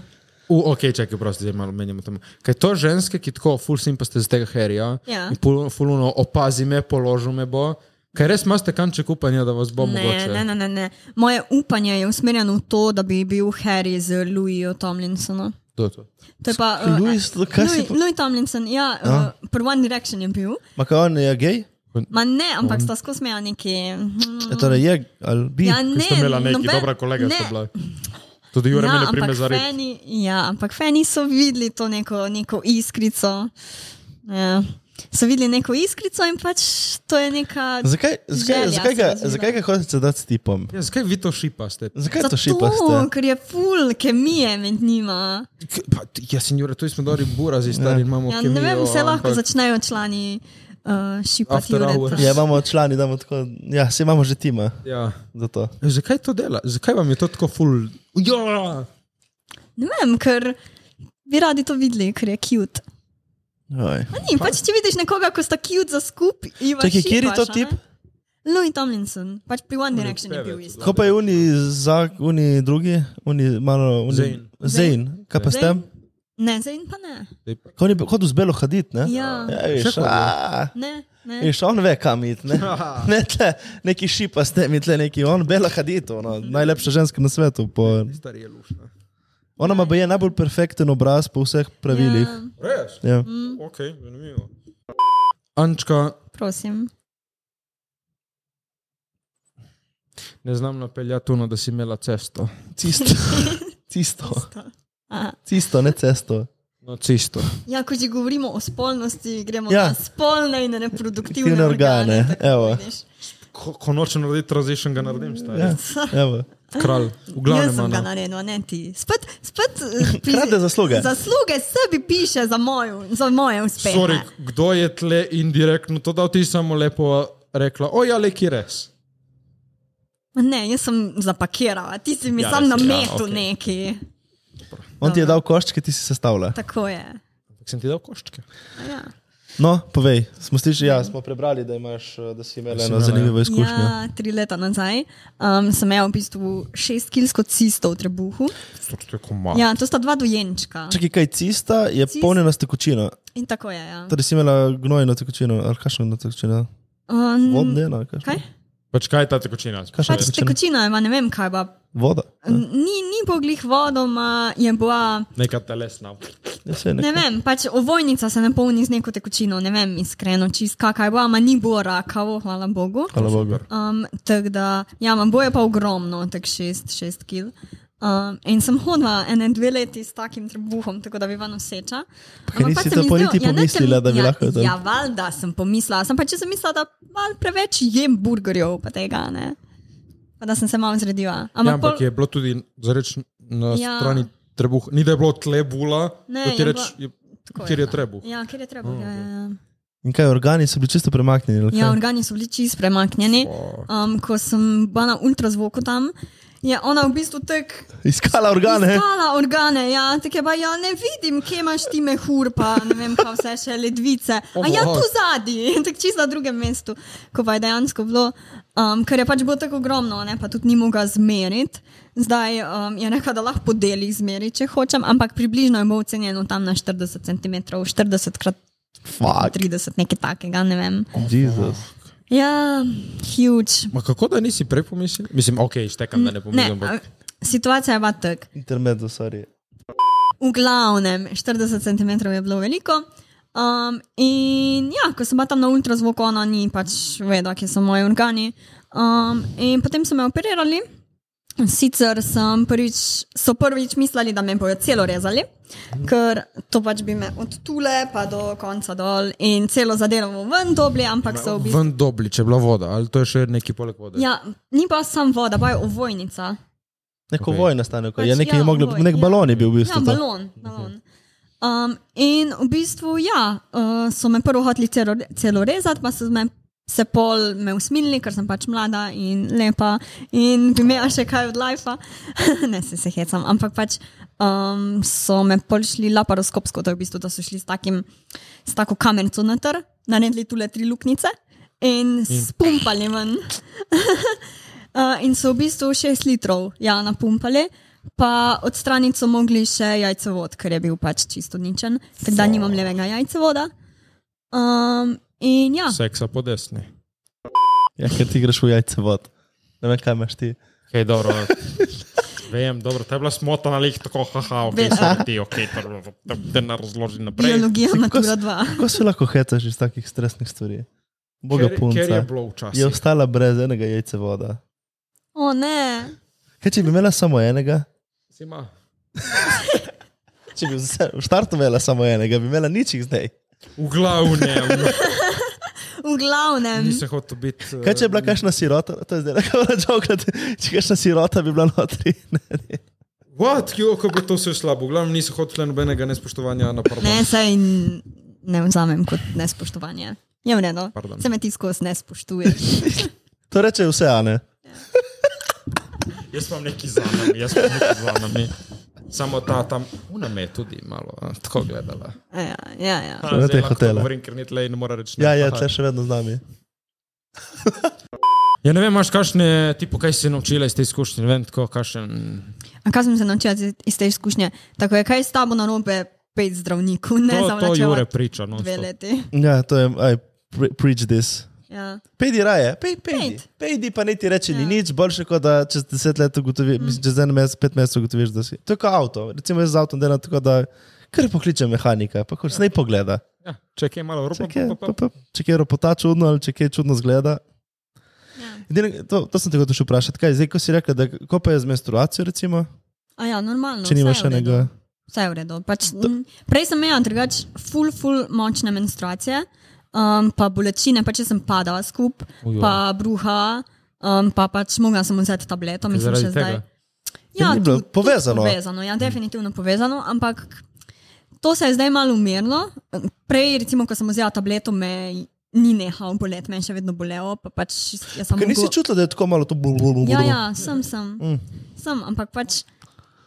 Speaker 4: U, ok, čakaj, prosti, zdaj malo menjamo tam. Kaj to ženske, ki tako ful simpaste z tega herja,
Speaker 1: Ja.
Speaker 4: in pul- ful uno opazi me, položil me bo. Kaj res imate kanček upanja, da vas bo
Speaker 1: Ne,
Speaker 4: mogoče?
Speaker 1: ne, ne, ne, ne. Moje upanje je usmerjeno v to, da bi bil Harry z Louisom Tomlinsonom.
Speaker 4: To je to.
Speaker 1: To je pa. eh,
Speaker 3: Louis, to kaj si
Speaker 1: Louis,
Speaker 3: po-
Speaker 1: Louis Tomlinson, ja, uh, prvi One Direction je bil.
Speaker 3: Makaon je gej?
Speaker 1: Ma ne, ampak sta skozi meja neki. mm,
Speaker 3: Ja, torej je, ali bi?
Speaker 1: Ja, ne,
Speaker 4: Ste imela neki,
Speaker 1: noben-
Speaker 4: dobra kolega
Speaker 1: ne. No,
Speaker 4: ste bila. Tudi Jure me ne prime
Speaker 1: Ja, ampak
Speaker 4: za res.
Speaker 1: fani, ja, ampak fani so videli to neko, neko iskrico. Ja. So videli neko iskrico in pač to je neka.
Speaker 3: Zakaj, zakaj,
Speaker 1: Želja
Speaker 3: zakaj,
Speaker 1: se
Speaker 3: ga,
Speaker 1: razvila.
Speaker 3: zakaj ga hočete dati s tipom?
Speaker 4: Ja, zakaj vi to šipaste?
Speaker 3: Zakaj to
Speaker 1: Zato,
Speaker 3: šipaste?
Speaker 1: ker je full kemije med njima.
Speaker 4: K- Pa, t- jaz in Jure, tu smo dobri burazi, stari imamo.
Speaker 1: Ja,
Speaker 4: kemijo,
Speaker 1: ne vem, se lahko
Speaker 4: ampak-
Speaker 1: začnejo člani uh, šipati.
Speaker 4: After
Speaker 1: Jure,
Speaker 4: hours.
Speaker 1: prosim.
Speaker 3: Ja, imamo člani, damo tako, ja, se imamo že tima
Speaker 4: Ja.
Speaker 3: za to.
Speaker 4: E, Zakaj to dela? Zakaj vam je to tako ful? Ja!
Speaker 1: Ne vem, ker bi radi to videli, ker je cute.
Speaker 3: Oj.
Speaker 1: Pa ni, pač če vidiš nekoga, ko sta cute za skup, in
Speaker 3: Čakaj, kjer je to tip?
Speaker 1: Louis Tomlinson, pač pri One Direction je bil
Speaker 4: pevec,
Speaker 1: isto.
Speaker 3: Ko pa je uni, za, uni drugi, uni malo. Uni,
Speaker 4: Zayn.
Speaker 3: Zayn, kaj pa s tem?
Speaker 1: Ne, zdaj pa ne.
Speaker 3: Ko je hodil z belo hadit, ne?
Speaker 1: Ja,
Speaker 3: Ja, veš,
Speaker 4: Še hodil?
Speaker 3: a,
Speaker 1: ne, ne.
Speaker 3: veš, on ve, kam iti. (laughs) Ne, ne tle, neki šipa s temi, tle neki, on bela hadit, ono, najlepša ženska na svetu. Po,
Speaker 4: Stari je lušna.
Speaker 3: ona ima baje najbolj perfekten obraz po vseh pravilih.
Speaker 1: Ja, mhm,
Speaker 4: Res?
Speaker 3: Ja.
Speaker 4: Ok, zanimivo. Ančka,
Speaker 1: prosim.
Speaker 4: ne znam napeljati tuno, da si imela cesto.
Speaker 1: (laughs)
Speaker 3: Cisto. Cisto.
Speaker 1: Aha.
Speaker 3: Cisto, ne cesto.
Speaker 4: No, cesto.
Speaker 1: Ja, ko že govorimo o spolnosti, gremo
Speaker 3: Ja.
Speaker 1: ja. na spolne in reproduktivne
Speaker 3: Aktivne organe,
Speaker 1: organe. tako
Speaker 3: evo.
Speaker 1: vidiš.
Speaker 4: Ko, ko nočem narediti transition, ga naredim, stari.
Speaker 3: Ja, evo.
Speaker 4: Kralj, v
Speaker 1: Jaz
Speaker 4: glavnem.
Speaker 1: sem ga
Speaker 4: Ana.
Speaker 1: naredil, a ne ti. Spet, spet
Speaker 3: (laughs)
Speaker 1: eh, pri-
Speaker 3: Krade zasluge.
Speaker 1: Zasluge sebi piše za, mojo, za moje uspehe.
Speaker 4: Sorry, kdo je tle indirektno to dal, ti si samo lepo rekla, oja, le ki res.
Speaker 1: Ma Ne, jaz sem zapakirala, ti si mi
Speaker 4: Ja,
Speaker 1: ja, sam
Speaker 4: res
Speaker 1: na
Speaker 4: je, ja,
Speaker 1: metu
Speaker 4: okej.
Speaker 1: ja, okay. neki.
Speaker 3: On ti je dal koščke, ti si sestavljal.
Speaker 1: Tako je.
Speaker 4: Ampak sem ti dal koščke.
Speaker 1: Ja.
Speaker 3: No, povej, smo slišali, ja, smo prebrali, da, imaš, eh, da si imel eno
Speaker 4: imela, ja.
Speaker 3: zanimivo izkušnjo. Ja.
Speaker 1: ja, tri leta nazaj um, sem imel v bistvu šestkilsko cisto v trebuhu.
Speaker 4: To je komar.
Speaker 1: Ja, to sta dva dojenčka.
Speaker 3: Čakaj, kaj cista je
Speaker 1: Cist-
Speaker 3: polnjena s tekočino.
Speaker 1: In tako je. Ja.
Speaker 3: Torej si imela gnojno tekočino, ali kakšno tekočino?
Speaker 1: Um,
Speaker 3: Vodneno, ali kakšno?
Speaker 1: kaj?
Speaker 4: Pač kaj je ta tekočina?
Speaker 3: Kakšna
Speaker 1: Pač
Speaker 3: tekočina?
Speaker 1: tekočina, ima, ne vem kaj pa.
Speaker 3: Voda. Ja,
Speaker 1: Mm. Ni, ni poglih vodoma, je bila
Speaker 4: Neka telesna.
Speaker 3: Ja, saj
Speaker 1: Ne
Speaker 3: nekaj.
Speaker 1: vem, pač ovojnica se ne polni z neko tekočino, ne vem iskreno, čistka kaj bo, ama ni bilo rakavo, hvala Bogu.
Speaker 3: Hvala Bogu.
Speaker 1: Um, tako da, ja, mam boje pa ogromno, tako šest, šest kil. Um, in sem hodila ene dve leti s takim trebuhom, tako da bi vam noseča.
Speaker 3: kaj
Speaker 1: Ampak
Speaker 3: nisi
Speaker 1: pač se
Speaker 3: to
Speaker 1: mi
Speaker 3: pol
Speaker 1: zdelo-
Speaker 3: niti
Speaker 1: ne, ker-
Speaker 3: pomislila, da bi
Speaker 1: ja,
Speaker 3: lahko to-
Speaker 1: Ja, valjda sem pomislila, sem pač sem mislila, da malo preveč jem burgerjev, pa tega ne. Pa da sem se malo zredila.
Speaker 4: Ja,
Speaker 1: Ampak,
Speaker 4: ampak
Speaker 1: pol,
Speaker 4: je bilo tudi zareč na
Speaker 1: Ja.
Speaker 4: ja. strani trebuha. Ni da je bilo tle bula,
Speaker 1: Ne,
Speaker 4: da ti
Speaker 1: je
Speaker 4: reč,
Speaker 1: bilo-
Speaker 4: je-
Speaker 1: tako
Speaker 4: kjer je
Speaker 1: bilo.
Speaker 4: trebuh. Mm.
Speaker 1: Ja, kjer je trebuh. Ja, ja, ja.
Speaker 3: In kaj, organi so bili čisto premaknjeni? ali
Speaker 1: Ja,
Speaker 3: kaj?
Speaker 1: organi so bili čist premaknjeni. Um, ko sem bila na ultrazvoku tam, je ona v bistvu tek
Speaker 3: (laughs) Iskala organe.
Speaker 1: iskala organe. Ja, tako je pa, ja, ne vidim, kje imaš ti mehur, pa ne vem, kaj vse še ledvice. A ja, tu zadnji, (laughs) tako čist na drugem mestu, ko pa je dejansko bilo, um, ker je pač bilo tako ogromno, ne, pa tudi ni mogla zmeriti. Zdaj um, je rekla, da lahko po delih zmeri, če hočem, ampak približno je bilo ocenjeno tam na 40 cm, 40 krat
Speaker 3: Fuck.
Speaker 1: 30, nekaj takega, ne vem.
Speaker 3: Jezus.
Speaker 1: Ja, huge.
Speaker 4: Ma kako da nisi prej pomislil? Mislim, ok, štekam, da ne
Speaker 1: Ne,
Speaker 4: pomislim.
Speaker 1: a,
Speaker 4: ampak-
Speaker 1: situacija je pa tak.
Speaker 3: Intermezzo, sorry.
Speaker 1: V glavnem, 40 cm je bilo veliko. Um, in ja, ko sem bila tam na ultrazvoku, ona ni pač vedela, kje so moji organi. Um, in potem so me operirali. Sicer sem prvič, so prvič mislili, da me bodo celo rezali, ker to pač bi me od tule pa do konca dol in celo zadevo ven dobili, ampak so v bistvu.
Speaker 4: Ven dobli, če je bila voda, ali to je še nekaj poleg vode.
Speaker 1: Ja, ni pa samo voda, pa je ovojnica.
Speaker 3: Neko
Speaker 4: Ok.
Speaker 3: okay. vojno stane,
Speaker 1: Pač,
Speaker 3: pač, je nekaj
Speaker 1: ja,
Speaker 3: ja, moglo,
Speaker 1: ovoj,
Speaker 3: nek
Speaker 1: ja.
Speaker 3: ja. balon je bil v bistvu.
Speaker 1: Ja,
Speaker 3: to.
Speaker 1: balon. balon. Um, in v bistvu, ja, uh, so me prvo hoteli celo, celo rezati, pa so me, se pol me usmilili, ker sem pač mlada in lepa in bi imela še kaj od lajfa. (laughs) ne, se se hecam, ampak pač um, so me pol šli laparoskopsko, to je v bistvu, da so šli s, takim, s tako kamerico noter, naredili tule tri luknjice in spumpali ven. Uh, in so v bistvu 6 litrov ja, napumpali, pa odstraniti so mogli še jajcevod, ker je bil pač čisto ničen, ker da nimam levega jajcevoda. Um, in ja,
Speaker 4: Seksa po desni.
Speaker 3: Ja, ker ti greš v jajce vod. Ne vem, kaj imaš ti.
Speaker 4: Kaj,
Speaker 1: (laughs)
Speaker 4: dobro. Vem, dobro, ta je bila smota na lih, tako haha, ok,
Speaker 1: Vem. Ja, no.
Speaker 4: sorry, ti, ok, dobro, da ne razložim naprej.
Speaker 1: biologija
Speaker 3: Si kako
Speaker 1: Natura
Speaker 3: s-
Speaker 1: 2.
Speaker 3: Kako se lahko hecaš iz takih stresnih stvari? Boga
Speaker 4: Ker- Ker je
Speaker 3: punca.
Speaker 4: bilo
Speaker 3: Je
Speaker 4: včasih.
Speaker 3: ostala brez enega jajce voda.
Speaker 1: O ne,
Speaker 3: Kaj če bi imela samo enega?
Speaker 4: Sima.
Speaker 3: Če bi v se- v štartu imela samo enega, bi imela nič jih zdaj.
Speaker 4: V
Speaker 1: (laughs)
Speaker 4: glavnem,
Speaker 1: v glavnem.
Speaker 4: nisem hotel biti. eh,
Speaker 3: Kaj če je bila kakšna sirota, (laughs) to je zdaj lahko račokrat, če kakšna sirota bi bila notri. Ne, ne.
Speaker 4: What, jo, kako bi to vse slabo. V glavnem nisem hotel nobenega nespoštovanja no, na prvo.
Speaker 1: Ne, saj n- ne vzamem kot nespoštovanje. Je vredno,
Speaker 4: Pardon.
Speaker 1: se me ti skozi ne spoštuješ. (laughs)
Speaker 3: To reče vse, a ne?
Speaker 4: Jaz imam neki za nami, jaz imam neki za nami. Samo ta tam, uname je tudi malo, a, tako gledala.
Speaker 1: Ja, ja, ja.
Speaker 4: Ha,
Speaker 3: Kaj na
Speaker 4: zdaj
Speaker 3: te
Speaker 4: lahko
Speaker 3: hotele?
Speaker 4: Govorim, ker ni tle in ne mora reči. ne.
Speaker 3: Ja, ja,
Speaker 4: Aha.
Speaker 3: tle še vedno z nami.
Speaker 4: Ja, ne vem, imaš kakšne, tipo, kaj si se naučila iz te izkušnje, ne vem, tako kakšen.
Speaker 1: A kaj sem se naučila iz- iz te izkušnje? Tako je, kaj je s tabo narobe, pet zdravnikov, ne
Speaker 4: To, to Jure
Speaker 1: zavlačevati
Speaker 4: priča, no.
Speaker 1: dve leti.
Speaker 3: Ja, to je, aj, pre, preach this.
Speaker 1: Ja.
Speaker 3: Pejdi raje, pej, pejdi.
Speaker 1: Pejdi.
Speaker 3: Pejdi pa ne ti reče ja. ni
Speaker 1: Ja.
Speaker 3: nič, boljše kot da čez deset let ugotoviš, mm. čez en mesec, pet mesecev ugotoviš, da si. To je kot avto. Recimo jaz z avtom delam tako, da kar pokličem mehanika, pa kot naj pogleda.
Speaker 4: Ja, čekaj malo, ropa,
Speaker 3: Če kje,
Speaker 4: pa, pa,
Speaker 3: pa,
Speaker 4: pa.
Speaker 3: pa, če kje ropota čudno ali če kje čudno zgleda.
Speaker 1: Ja.
Speaker 3: Edino, to, to sem te hotel še vprašati. Kaj, zdaj, ko si rekel, da ko pa je z menstruacijo, recimo,
Speaker 1: A ja, normalno.
Speaker 3: no, če nimaš
Speaker 1: vse je v redu.
Speaker 3: enega.
Speaker 1: Vse je v redu. Pač, m, prej sem imel drugače, ful, ful močne menstruacije, um, pa bolečine, pa če sem padala skup,
Speaker 4: Ujoj.
Speaker 1: pa bruha, um, pa pač mogla sem vzeti tableto, mislim,
Speaker 4: zaradi
Speaker 1: še zdaj.
Speaker 4: tega?
Speaker 1: Ja,
Speaker 3: Ker ni bilo
Speaker 1: tudi- tudi
Speaker 3: povezano.
Speaker 1: povezano. Ja, definitivno povezano, ampak to se je zdaj malo umirilo. Prej, recimo, ko sem vzela tableto, me ni nehal boleti, me je še vedno bolelo, pa pač jaz sem
Speaker 3: Ker nisi čutila, da je tako malo to blubo.
Speaker 1: Ja, ja, sem, sem. Mm. Sem, ampak pač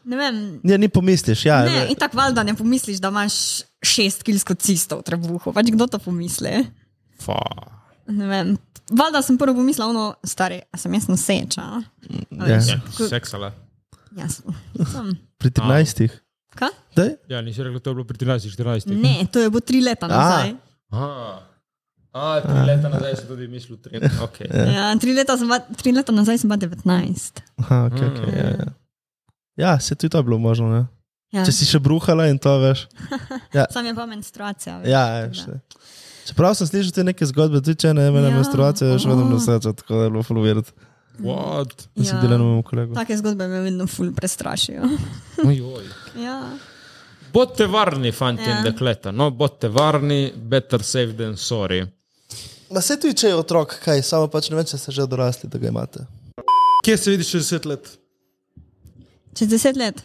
Speaker 1: ne vem.
Speaker 3: Ja, ni pomisliš, ja.
Speaker 1: Ne, in tako valjda ne pomisliš, da imaš šest kilsko cisto v trebuhu. Pač kdo to pomisli?
Speaker 4: Fa.
Speaker 1: Ne vem. Valjda sem prvo pomislil, ono, stari, a sem jaz noseča.
Speaker 3: ja.
Speaker 1: Ja,
Speaker 4: Seksala.
Speaker 1: Jaz sem.
Speaker 3: Pri 13.
Speaker 1: Kaj?
Speaker 3: Daj?
Speaker 4: Ja, nisi rekel, to je bilo pri 13, 14.
Speaker 1: Ne, to je bilo tri leta nazaj.
Speaker 4: Aha. A, tri leta nazaj sem tudi mislil, tri. Okay. Ja.
Speaker 1: Ja, tri, leta sem bila, tri leta nazaj sem bila 19.
Speaker 3: Aha, okay, okay, ja, ja. ja, se tudi to je bilo možno. Ne?
Speaker 1: Ja.
Speaker 3: Če si še bruhala in to veš.
Speaker 1: Sam je pa menstruacija. veš,
Speaker 3: Ja,
Speaker 1: tako
Speaker 3: je,
Speaker 1: da.
Speaker 3: še. Čeprav sem slišal te neke zgodbe, tudi če ne ena
Speaker 1: Ja.
Speaker 3: menstruacija, je še vedno noseča, tako da je bilo fuluvirati.
Speaker 4: What?
Speaker 3: Jaz sem
Speaker 1: Ja.
Speaker 3: delal na mojem kolegu.
Speaker 1: Take zgodbe me vedno ful prestrašijo. (laughs) ja.
Speaker 4: Bodite varni, fanti
Speaker 1: Ja.
Speaker 4: ja. in dekleta. No, bodite varni, better safe than sorry.
Speaker 3: Ma se tudi, če je otrok, kaj, samo pač ne vem, če ste že dorasli, da ga imate.
Speaker 4: Kje se vidiš čez deset let?
Speaker 1: Čez deset let.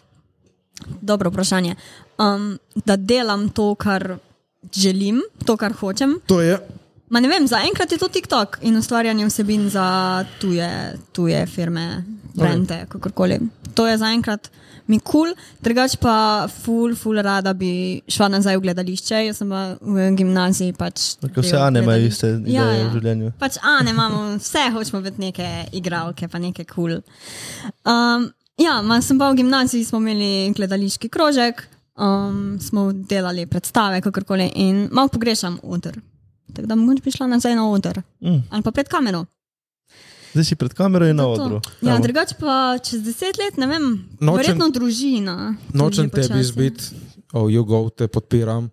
Speaker 1: Dobro vprašanje. Um, da delam to, kar želim, to, kar hočem.
Speaker 4: To je.
Speaker 1: Ma ne vem, zaenkrat je to TikTok in ustvarjanje vsebin za tuje, tuje firme, brende, okay. kakorkoli. To je zaenkrat mi kul, cool, drugač pa ful, ful rada bi šla nazaj v gledališče. Jaz sem pa v gimnaziji pač.
Speaker 3: Tako vse
Speaker 1: del
Speaker 3: Ane imajo
Speaker 1: gledališč-
Speaker 3: iste ideje v življenju.
Speaker 1: Pač Ane imamo, vse hočemo biti neke igralke, pa neke kul. Cool. Um, ja, ma, sem pa v gimnaziji, smo imeli gledališki krožek, um, smo delali predstave, kakorkoli in malo pogrešam odr. Tako da mogoče bi šla nazaj na odr
Speaker 3: Mm.
Speaker 1: ali pa pred kamero.
Speaker 3: Zdaj si pred kamero in na
Speaker 1: To.
Speaker 3: odru.
Speaker 1: Ja,
Speaker 3: Evo.
Speaker 1: drugače pa čez deset let, ne vem,
Speaker 4: Nočem-
Speaker 1: Nočen... verjetno družina. tudi
Speaker 4: Nočem tebi
Speaker 1: počasi.
Speaker 4: izbiti, oh, jugo te podpiram.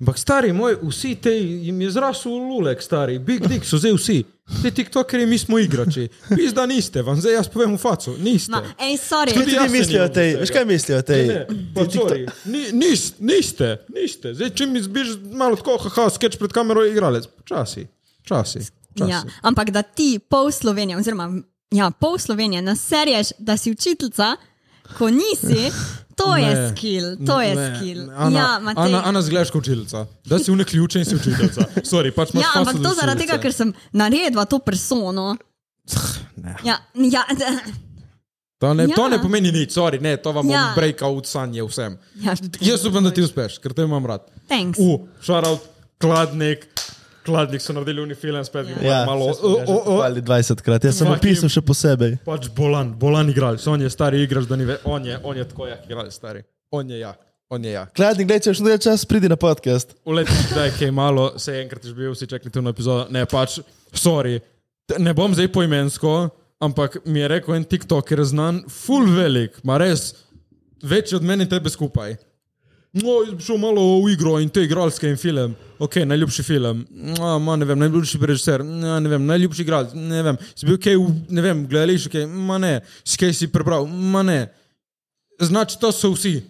Speaker 4: Ampak stari moj, vsi te jim je zrasel lulek, stari, big dick so zdaj vsi. Ti tiktokerji, mi smo igrači. Pizda niste, vam zdaj jaz povem v facu, niste.
Speaker 1: Ma, ej, sorry.
Speaker 3: Kaj ti
Speaker 4: jaz se
Speaker 3: mislijo o
Speaker 4: nimam
Speaker 3: tej?
Speaker 4: tega.
Speaker 3: Veš kaj mislijo o tej?
Speaker 4: Ne, pa sorry, Ni, nis, niste, niste. Zdaj, če mi zbiš malo tako, haha, sketch pred kamero, igralec. Počasi, počasi. počasi.
Speaker 1: Ja, ampak da ti pol Slovenije, oziroma ja, pol Slovenije naserješ, da si učiteljica, ko
Speaker 4: (laughs)
Speaker 1: nisi, to ne, je skill, to je
Speaker 4: Ne,
Speaker 1: skill.
Speaker 4: ne, Ana,
Speaker 1: ja, Matej.
Speaker 4: Ana, Ana zgledaš kot učiteljica. Da si unek ključe in si učiteljica. Sorry, pač imaš
Speaker 1: Ja,
Speaker 4: faso,
Speaker 1: ampak
Speaker 4: da
Speaker 1: to
Speaker 4: si
Speaker 1: zaradi
Speaker 4: učiteljica.
Speaker 1: tega, ker sem naredila to persono.
Speaker 4: ne.
Speaker 1: Ja, ja,
Speaker 4: To ne, ja. to
Speaker 1: Ja.
Speaker 4: ne pomeni nič, sorry, ne, to vam ja.
Speaker 1: Ja.
Speaker 4: bom breakout sanje vsem.
Speaker 1: ja,
Speaker 4: Jaz upam, da ti uspeš, ker te imam rad.
Speaker 1: thanks.
Speaker 4: U, šarout, kladnik, kladnik so naredili unifilm spet.
Speaker 3: Ja,
Speaker 4: Ja. Malo,
Speaker 3: saj smo
Speaker 4: o,
Speaker 3: ga že
Speaker 4: o, o,
Speaker 3: pohvalili 20krat, jaz sem
Speaker 4: Fuck
Speaker 3: napisal še posebej.
Speaker 4: pač bolan, bolan igralec, on je stari igrač, da ni ve, on je, on je tako jak igralec, stari. On je jak, on je jak.
Speaker 3: Kladnik, gledaj, če še nekaj čas, pridi na podcast.
Speaker 4: Uleti, da je kaj malo, se je enkrat že bil, vsi čakali to epizodo. Ne, pač, sorry, T- ne bom zdaj poimensko, ampak mi je rekel en TikToker znan, full velik, ma res, večji od mene in tebe skupaj. No, jaz bi šel malo v igro in te igralske in film. Ok, najljubši film. No, ma, ne vem, najljubši režiser, no, ne vem, najljubši igralec, ne vem. Si bil kaj v, ne vem, gledališče, kaj, ma ne, si kaj si prebral, ma ne. Znači, to so vsi.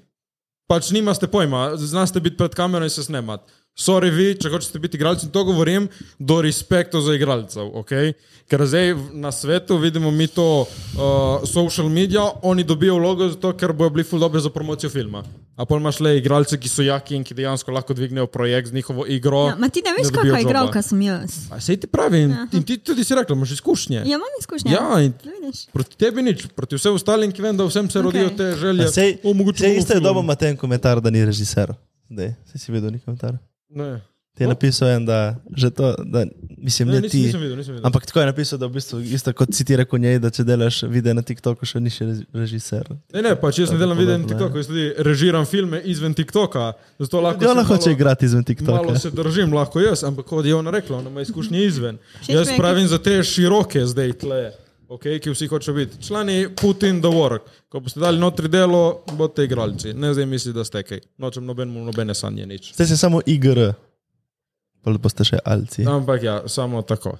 Speaker 4: Pač nimate pojma, znate biti pred kamero in se snemati. Sorry, vi, če hočete biti igralci, in to govorim do respekta za igralcev, okay? ker zdaj v- na svetu vidimo mi to uh, social media, oni dobijo vlogo zato, ker bojo bili ful dobri za promocijo filma. A pa imaš le igralce, ki so jaki in ki dejansko lahko dvignejo projekt z njihovo igro.
Speaker 1: Ja, ma ti ne veš,
Speaker 4: dobijo
Speaker 1: kakšna
Speaker 4: joba.
Speaker 1: igralka sem jaz.
Speaker 4: A Sej ti pravi, in, in ti tudi si rekel, imaš izkušnje.
Speaker 1: Ja, imam izkušnje.
Speaker 4: Ja, in-
Speaker 1: Ja, vidiš.
Speaker 4: Proti tebi nič, proti vsem ostalim, ki vem, da vsem se okay. rodijo te želje.
Speaker 3: Sej,
Speaker 4: Ja, "O, mogoče
Speaker 3: sej
Speaker 4: bomo
Speaker 3: isto je
Speaker 4: film."
Speaker 3: dobo Matej en komentar, da ni režiser. Zdaj, saj si videl neki komentar.
Speaker 4: Ne.
Speaker 3: Ti je napisal en, da že to, da mislim,
Speaker 4: No. Ne,
Speaker 3: ne,
Speaker 4: nisem,
Speaker 3: ti.
Speaker 4: nisem videl, nisem videl.
Speaker 3: Ampak tako je napisal, da v bistvu isto kot si ti rekel njej, da če delaš videe na TikToku, še ni še reži- režiser.
Speaker 4: Ne, ne, pač jaz ne
Speaker 3: Tako
Speaker 4: delam videa na
Speaker 3: podobno, Ja,
Speaker 4: TikToku, jaz tudi režiram filme izven TikToka. Zato lahko
Speaker 3: Ona
Speaker 4: se
Speaker 3: hoče
Speaker 4: malo-
Speaker 3: igrati izven TikToka.
Speaker 4: Malo se držim, lahko jaz, ampak kot je ona rekla, ona ima izkušnje izven.
Speaker 1: Všeč
Speaker 4: Jaz
Speaker 1: mi je,
Speaker 4: pravim za te široke zdaj tle, okay, ki vsi hočejo biti. Člani put in the work. Ko boste dali notri delo, boste igralci. Ne zdaj misli, da ste kaj. Nočem nobenemu nobene sanje nič.
Speaker 3: Zdaj se samo igr. Pa boste še alci.
Speaker 4: Ampak ja, samo tako.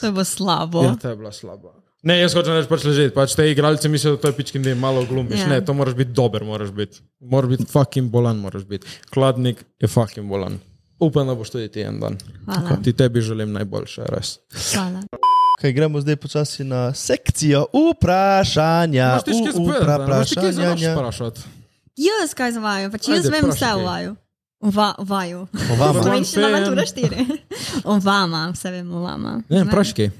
Speaker 1: To bo slabo.
Speaker 4: Ja, ta je bila slaba. Ne, jaz hočem reči, pač ležite, pač te igralce mislijo, da to je pičkin dim, malo glumiš.
Speaker 1: Ja.
Speaker 4: Yeah. Ne, to moraš biti dober, moraš biti. Moraš biti fucking bolan, moraš biti. Kladnik je fucking bolan. Upam, da boš tudi ti en dan.
Speaker 1: Hvala.
Speaker 4: Ti tebi želim najboljše, res.
Speaker 1: Hvala.
Speaker 3: Kaj gremo zdaj počasi na sekcijo vprašanja.
Speaker 4: Imaš ti še kaj
Speaker 3: U, upra-
Speaker 4: zapovedati? Imaš ti kaj za nas
Speaker 3: vprašanja. ja.
Speaker 4: vprašati?
Speaker 1: Jaz kaj za vaju, pač jaz
Speaker 4: Ajde,
Speaker 1: vem vse
Speaker 4: vprašaj
Speaker 1: o
Speaker 4: kaj.
Speaker 1: vaju. O va- o vaju.
Speaker 3: O vama.
Speaker 1: Slovenščina
Speaker 4: Fan.
Speaker 1: matura 4. (laughs) O vama, vse vem o vama.
Speaker 4: Ne, vprašaj kaj.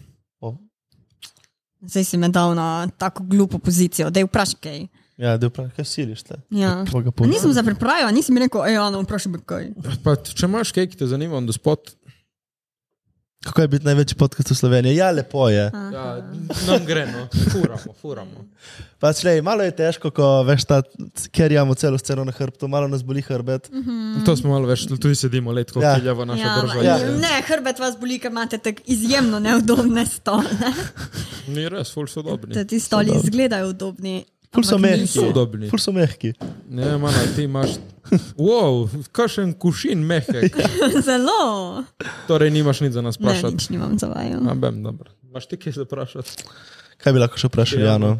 Speaker 1: Zdaj si me dal na tako glupo pozicijo, da je vprašaj kaj.
Speaker 3: Ja, da vprašaj, kaj siliš te.
Speaker 1: Ja.
Speaker 3: Koga
Speaker 1: A
Speaker 3: pol-
Speaker 1: Nisem za pripravljena, nisem rekel, ej, Ana, vprašaj me kaj.
Speaker 4: Pa, če imaš kaj, ki te zanima, da spot.
Speaker 3: Kako je biti največji podcast v Sloveniji? Ja, lepo je.
Speaker 4: Ja, nam gre, no. Furamo, furamo.
Speaker 3: Pač, lej, malo je težko, ko veš, ta, ker imamo celo sceno na hrbtu, malo nas boli hrbet.
Speaker 4: Mhm. To smo malo več, tudi sedimo letko,
Speaker 3: Ja.
Speaker 4: ja. kiljava naša ja, država.
Speaker 1: Mm. ja.
Speaker 4: Ja.
Speaker 1: ma- Ne, hrbet vas boli, ker imate tako izjemno neudobne stole.
Speaker 4: Ni res, ful so dobri.
Speaker 1: Da ti stoli izgledajo udobni,
Speaker 3: Ful so
Speaker 1: Ampak
Speaker 3: mehki.
Speaker 1: niso.
Speaker 4: Podobni.
Speaker 3: Ful so mehki.
Speaker 4: Ne, malo ti imaš. Wow, kakšen kušin mehek.
Speaker 1: (laughs) Zelo.
Speaker 4: Torej, nimaš nič za nas
Speaker 1: Ne,
Speaker 4: vprašati.
Speaker 1: nič nimam za vaju.
Speaker 4: Ne, bem, dobro. Imaš ti kaj za vprašati?
Speaker 3: Kaj bi lahko še vprašal,
Speaker 4: Ja,
Speaker 3: Jano?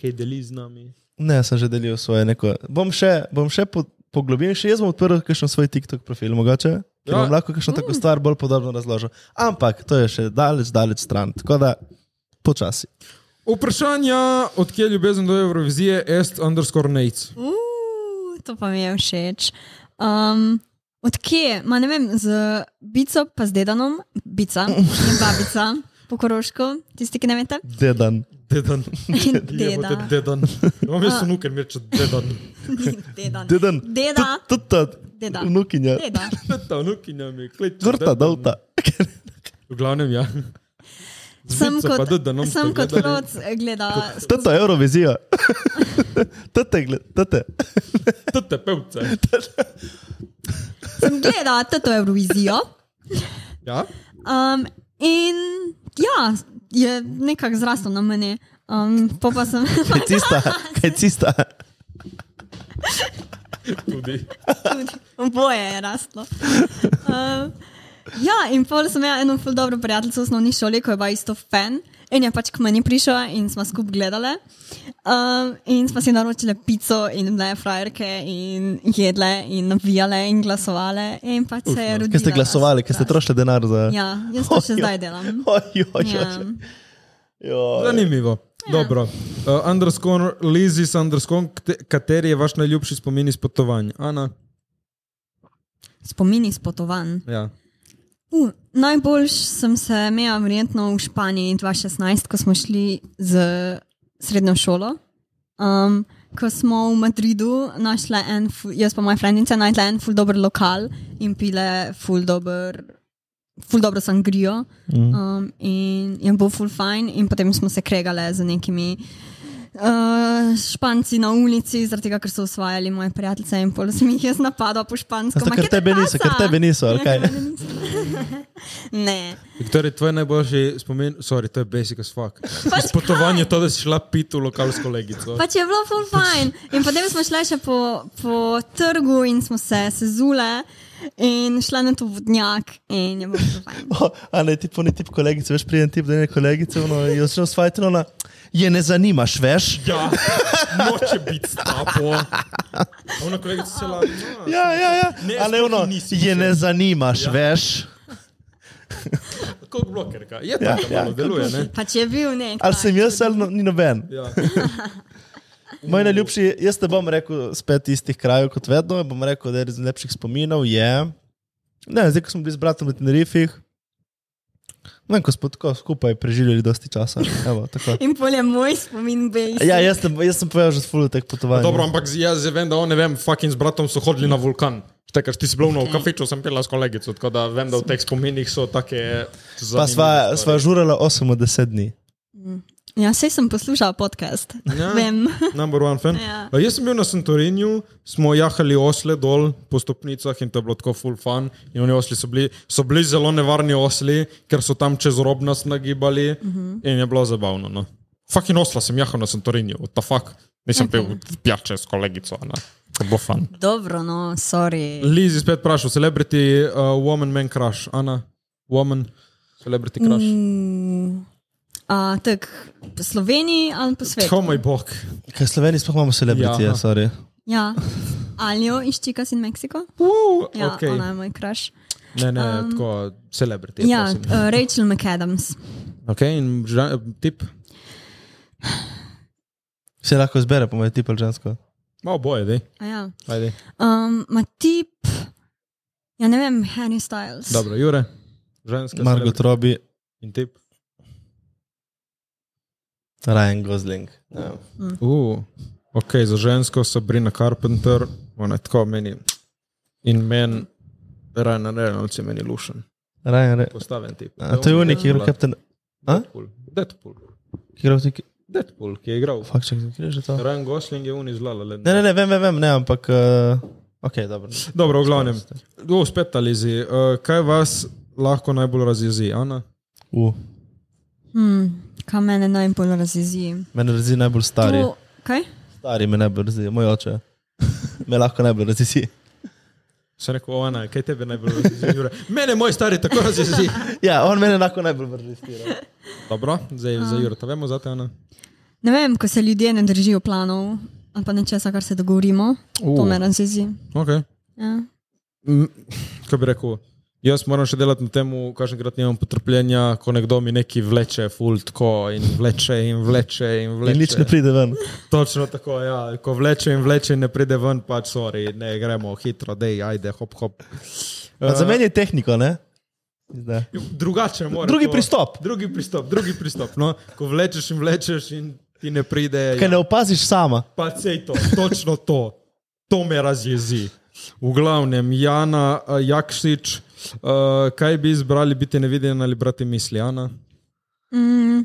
Speaker 4: Kaj deli z nami?
Speaker 3: Ne, sem že delil svoje neko. Bom še, bom še po, poglobil, še jaz bom odprl kakšen svoj TikTok profil, mogoče. Ja.
Speaker 4: Ja.
Speaker 3: Bom lahko kakšno mm. tako stvar bolj podrobno razložil. Ampak to je še daleč, daleč stran. Tako da počasi.
Speaker 4: Vprašanja, odkje je ljubezen do Eurovizije, est underscore nates.
Speaker 1: Uh, to pa mi je všeč. Um, odkje? Ma ne vem, z bico pa z dedanom, bica in babica po koroško, tisti, ki ne veste.
Speaker 3: Dedan.
Speaker 4: Dedan. (laughs) Ja,
Speaker 1: In Deda.
Speaker 4: Jebote, Dedan. Imam jaz unuke, mirče dedan.
Speaker 1: (laughs) Dedan.
Speaker 3: Dedan.
Speaker 1: Deda.
Speaker 3: Tuta.
Speaker 1: Deda.
Speaker 4: No.
Speaker 3: Vnukinja.
Speaker 1: Deda.
Speaker 4: (laughs) Ta unukinja mi je kliče.
Speaker 3: Tvrta, dolta. (laughs)
Speaker 4: V glavnem, ja.
Speaker 1: Sem
Speaker 4: bico pa
Speaker 1: kot,
Speaker 4: dedanom ste
Speaker 1: sem kot
Speaker 4: gledali.
Speaker 1: roc gleda.
Speaker 3: Tata (laughs) Eurovizija. Tete, gled- tete.
Speaker 4: Tete pevce.
Speaker 1: Sem gledala to Eurovizijo.
Speaker 4: Ja?
Speaker 1: Um, in ja, je nekako zraslo na meni. Um, po pa sem
Speaker 4: (laughs)
Speaker 3: Kaj cista, kaj cista.
Speaker 4: Tudi.
Speaker 1: Tudi Oboje je raslo. Um, ja, in pol sem imel eno ful dobro prijateljico v osnovni šoli, ko je bila isto fan. In je pač k meni prišla in smo skupaj gledali. Um, in smo si naročili pico in bile frajerke in jedle in navijale in glasovale. In pač se je rodilo.
Speaker 3: Kaj no. ste glasovali, kaj ste trošili denar za...
Speaker 1: Ja, jaz to še zdaj delam.
Speaker 3: Oj, oj,
Speaker 1: Ja.
Speaker 3: oj. Joj.
Speaker 4: Zanimivo.
Speaker 3: Ja.
Speaker 4: Dobro. Uh, underscore Lizis, underscore, kte- kateri je vaš najljubši spomin iz potovanja? Ana?
Speaker 1: Spomini iz potovanj.
Speaker 4: Ja.
Speaker 1: Uh, najbolj sem se imela verjetno v Španiji 2016, ko smo šli z srednjo šolo. Um, ko smo v Madridu našli en, ful, jaz pa moja frendica, najdla en ful dober lokal in pile ful dober. Ful dobro sangrijo
Speaker 3: Mm.
Speaker 1: um, in je bil ful fajn, in potem smo se kregali z nekimi uh, španci na ulici, zaradi tega, ker so usvajali moje prijatelje in pol sem jih jaz napadal po špansko.
Speaker 3: Zato,
Speaker 1: Ma,
Speaker 3: ker
Speaker 1: kaj te
Speaker 3: tebe niso,
Speaker 1: pasa?
Speaker 3: ker tebe niso, ali
Speaker 1: Ja,
Speaker 3: kaj?
Speaker 1: ker mene niso. (laughs) ne.
Speaker 4: Torej, tvoj najboljši spomin, sorry, to je basic as fuck. Iz potovanja je to, da si šla pit v lokal s kolegico.
Speaker 1: Pač je bilo ful fajn. In potem smo šli še po, po trgu in smo se sezule in šla na to vodnjak in je bilo ful fajn.
Speaker 3: O, A ne, ti puni tip kolegice, veš, prijem tip, da je kolegice, ono, in začne svajati, ona, je ne zanimaš, veš?
Speaker 4: Ja, noče biti stapo. Ona kolegica se laži. no.
Speaker 3: Ja, ja, ja.
Speaker 4: Ne,
Speaker 3: A ne,
Speaker 4: sploh
Speaker 3: ono,
Speaker 4: ji nisi
Speaker 3: je ne zanimaš,
Speaker 4: Ja.
Speaker 3: veš?
Speaker 4: Kot blokerka. Je
Speaker 3: Ja,
Speaker 4: tako,
Speaker 3: ja,
Speaker 4: ja, malo
Speaker 3: kot
Speaker 4: deluje, ne?
Speaker 1: Pač je bil nek.
Speaker 3: Ali sem jaz, ali no, ni noben?
Speaker 4: Ja.
Speaker 3: Moj najljubši, jaz ne bom rekel spet istih krajev kot vedno, bom rekel, da je iz najlepših spominov je. Ne, zdaj, ko smo bili z bratom na Tenerifih, ne vem, ko smo tako skupaj preživljali dosti časa. Evo, tako.
Speaker 1: In pol je moj spomin bil.
Speaker 3: ja, jaz, ne, jaz sem povedal že s fuldo teh potovanj.
Speaker 4: Dobro, ampak z- jaz zdaj vem, da on ne vem, fucking z bratom so hodili na vulkan. Štekar, ti si bil v kafiču, sem pila s kolegico, tako da vem, da v teh spominih so take. eh,
Speaker 3: pa sva, sva žurala 8 od 10 dni.
Speaker 1: Ja, sej sem poslušal podcast. Ja.
Speaker 4: Ja.
Speaker 1: Vem.
Speaker 4: Number one fan.
Speaker 1: Ja.
Speaker 4: Ja. Jaz sem bil na Santorinju, smo jahali osle dol po stopnicah in to je bilo tako full fun. In oni osli so bili, so bili zelo nevarni osli, ker so tam čez rob nas nagibali uh
Speaker 1: Mhm.
Speaker 4: -huh. in je bilo zabavno. No. Fucking osla sem jahal na Santorinju, what the fuck. Nisem pil pijače s kolegico, a ne. To je bilo fun.
Speaker 1: Dobro, no, sorry.
Speaker 4: Lizi spet vprašal, celebrity, uh, woman, man crush, Ana, woman, celebrity crush. Mm,
Speaker 1: A, tak, po Sloveniji ali po svetu?
Speaker 4: oh, moj bog.
Speaker 3: Kaj v Sloveniji sploh imamo celebritije,
Speaker 4: Ja.
Speaker 3: ja. sorry.
Speaker 1: Ja. Aljo iz Chicas in Meksiko?
Speaker 4: Uh,
Speaker 1: Ja, okay. ona
Speaker 4: okay.
Speaker 1: je moj kraš.
Speaker 4: Ne, ne, um, tako, celebrity.
Speaker 1: Ja,
Speaker 4: prosim.
Speaker 1: uh, Rachel McAdams.
Speaker 4: Ok, in ža, tip,
Speaker 3: Se lahko izbere, po mojem, tipa žensko.
Speaker 4: malo boje, dej.
Speaker 1: A Ja.
Speaker 4: Ajde.
Speaker 1: Um, ma tip, ja ne vem, Harry Styles.
Speaker 4: Dobro, Jure, ženska.
Speaker 3: Margot
Speaker 4: celebrity.
Speaker 3: Robbie,
Speaker 4: In tip.
Speaker 3: Ryan Gosling. Ja.
Speaker 4: Uh, ok, za žensko Sabrina Carpenter, ona je tako meni. In men, Ryan Reynolds je meni lušen.
Speaker 3: Ryan Re...
Speaker 4: Postaven tip.
Speaker 3: A, to je unik, ki je igral Captain. A?
Speaker 4: Deadpool. Deadpool.
Speaker 3: Ki je igral tukaj.
Speaker 4: Deadpool, ki je igral.
Speaker 3: Fak, čak, kje je že to?
Speaker 4: Ryan Gosling je unizlala.
Speaker 3: Ne, ne, ne, vem, vem, vem ne, ampak. Uh, ok, dobro.
Speaker 4: Dobro, v glavnem. O, spet ta lizi. Eh, Uh, kaj vas lahko najbolj razjezi, Ana?
Speaker 3: Uh.
Speaker 1: Hmm, Kaj mene najbolj razjezi?
Speaker 3: Mene razi najbolj stari.
Speaker 1: To, kaj?
Speaker 3: Stari me najbolj razi, moj oče. (laughs) Me lahko najbolj razi.
Speaker 4: Sem rekel, o, Ana, kaj tebe najbolj (laughs) razjezi? Mene, moj stari, tako razjezi.
Speaker 3: Ja, on mene lahko najbolj no. razi.
Speaker 4: Dobro, zdaj za Juro, to vemo, zate Ana.
Speaker 1: Ne vem, ko se ljudje ne držijo planov ali pa nečesa, kar se dogovorimo, uh. to
Speaker 4: Uh.
Speaker 1: me razjezi.
Speaker 4: Okay.
Speaker 1: Ja.
Speaker 4: Mm, Kaj bi rekel? Jaz moram še delati na tem, kaženkrat nimam potrpljenja, ko nekdo mi neki vleče, ful tako in vleče in vleče in vleče.
Speaker 3: In nič ne pride ven.
Speaker 4: Točno tako, ja. Ko vleče in vleče in ne pride ven, pač sorry, ne gremo hitro, dej, ajde, hop, hop.
Speaker 3: Uh, za meni je tehniko, ne? Zdaj.
Speaker 4: Drugače mora.
Speaker 3: Drugi
Speaker 4: to-
Speaker 3: pristop.
Speaker 4: Drugi pristop, drugi pristop. No? Ko vlečeš in vlečeš in ti ne pride. ja.
Speaker 3: Kaj ne opaziš sama.
Speaker 4: Pa sej to, točno to. To me razjezi. V glavnem, Jana eh, Jakšič, uh, kaj bi izbrali, biti neviden ali brati misli, Ana?
Speaker 1: Mm,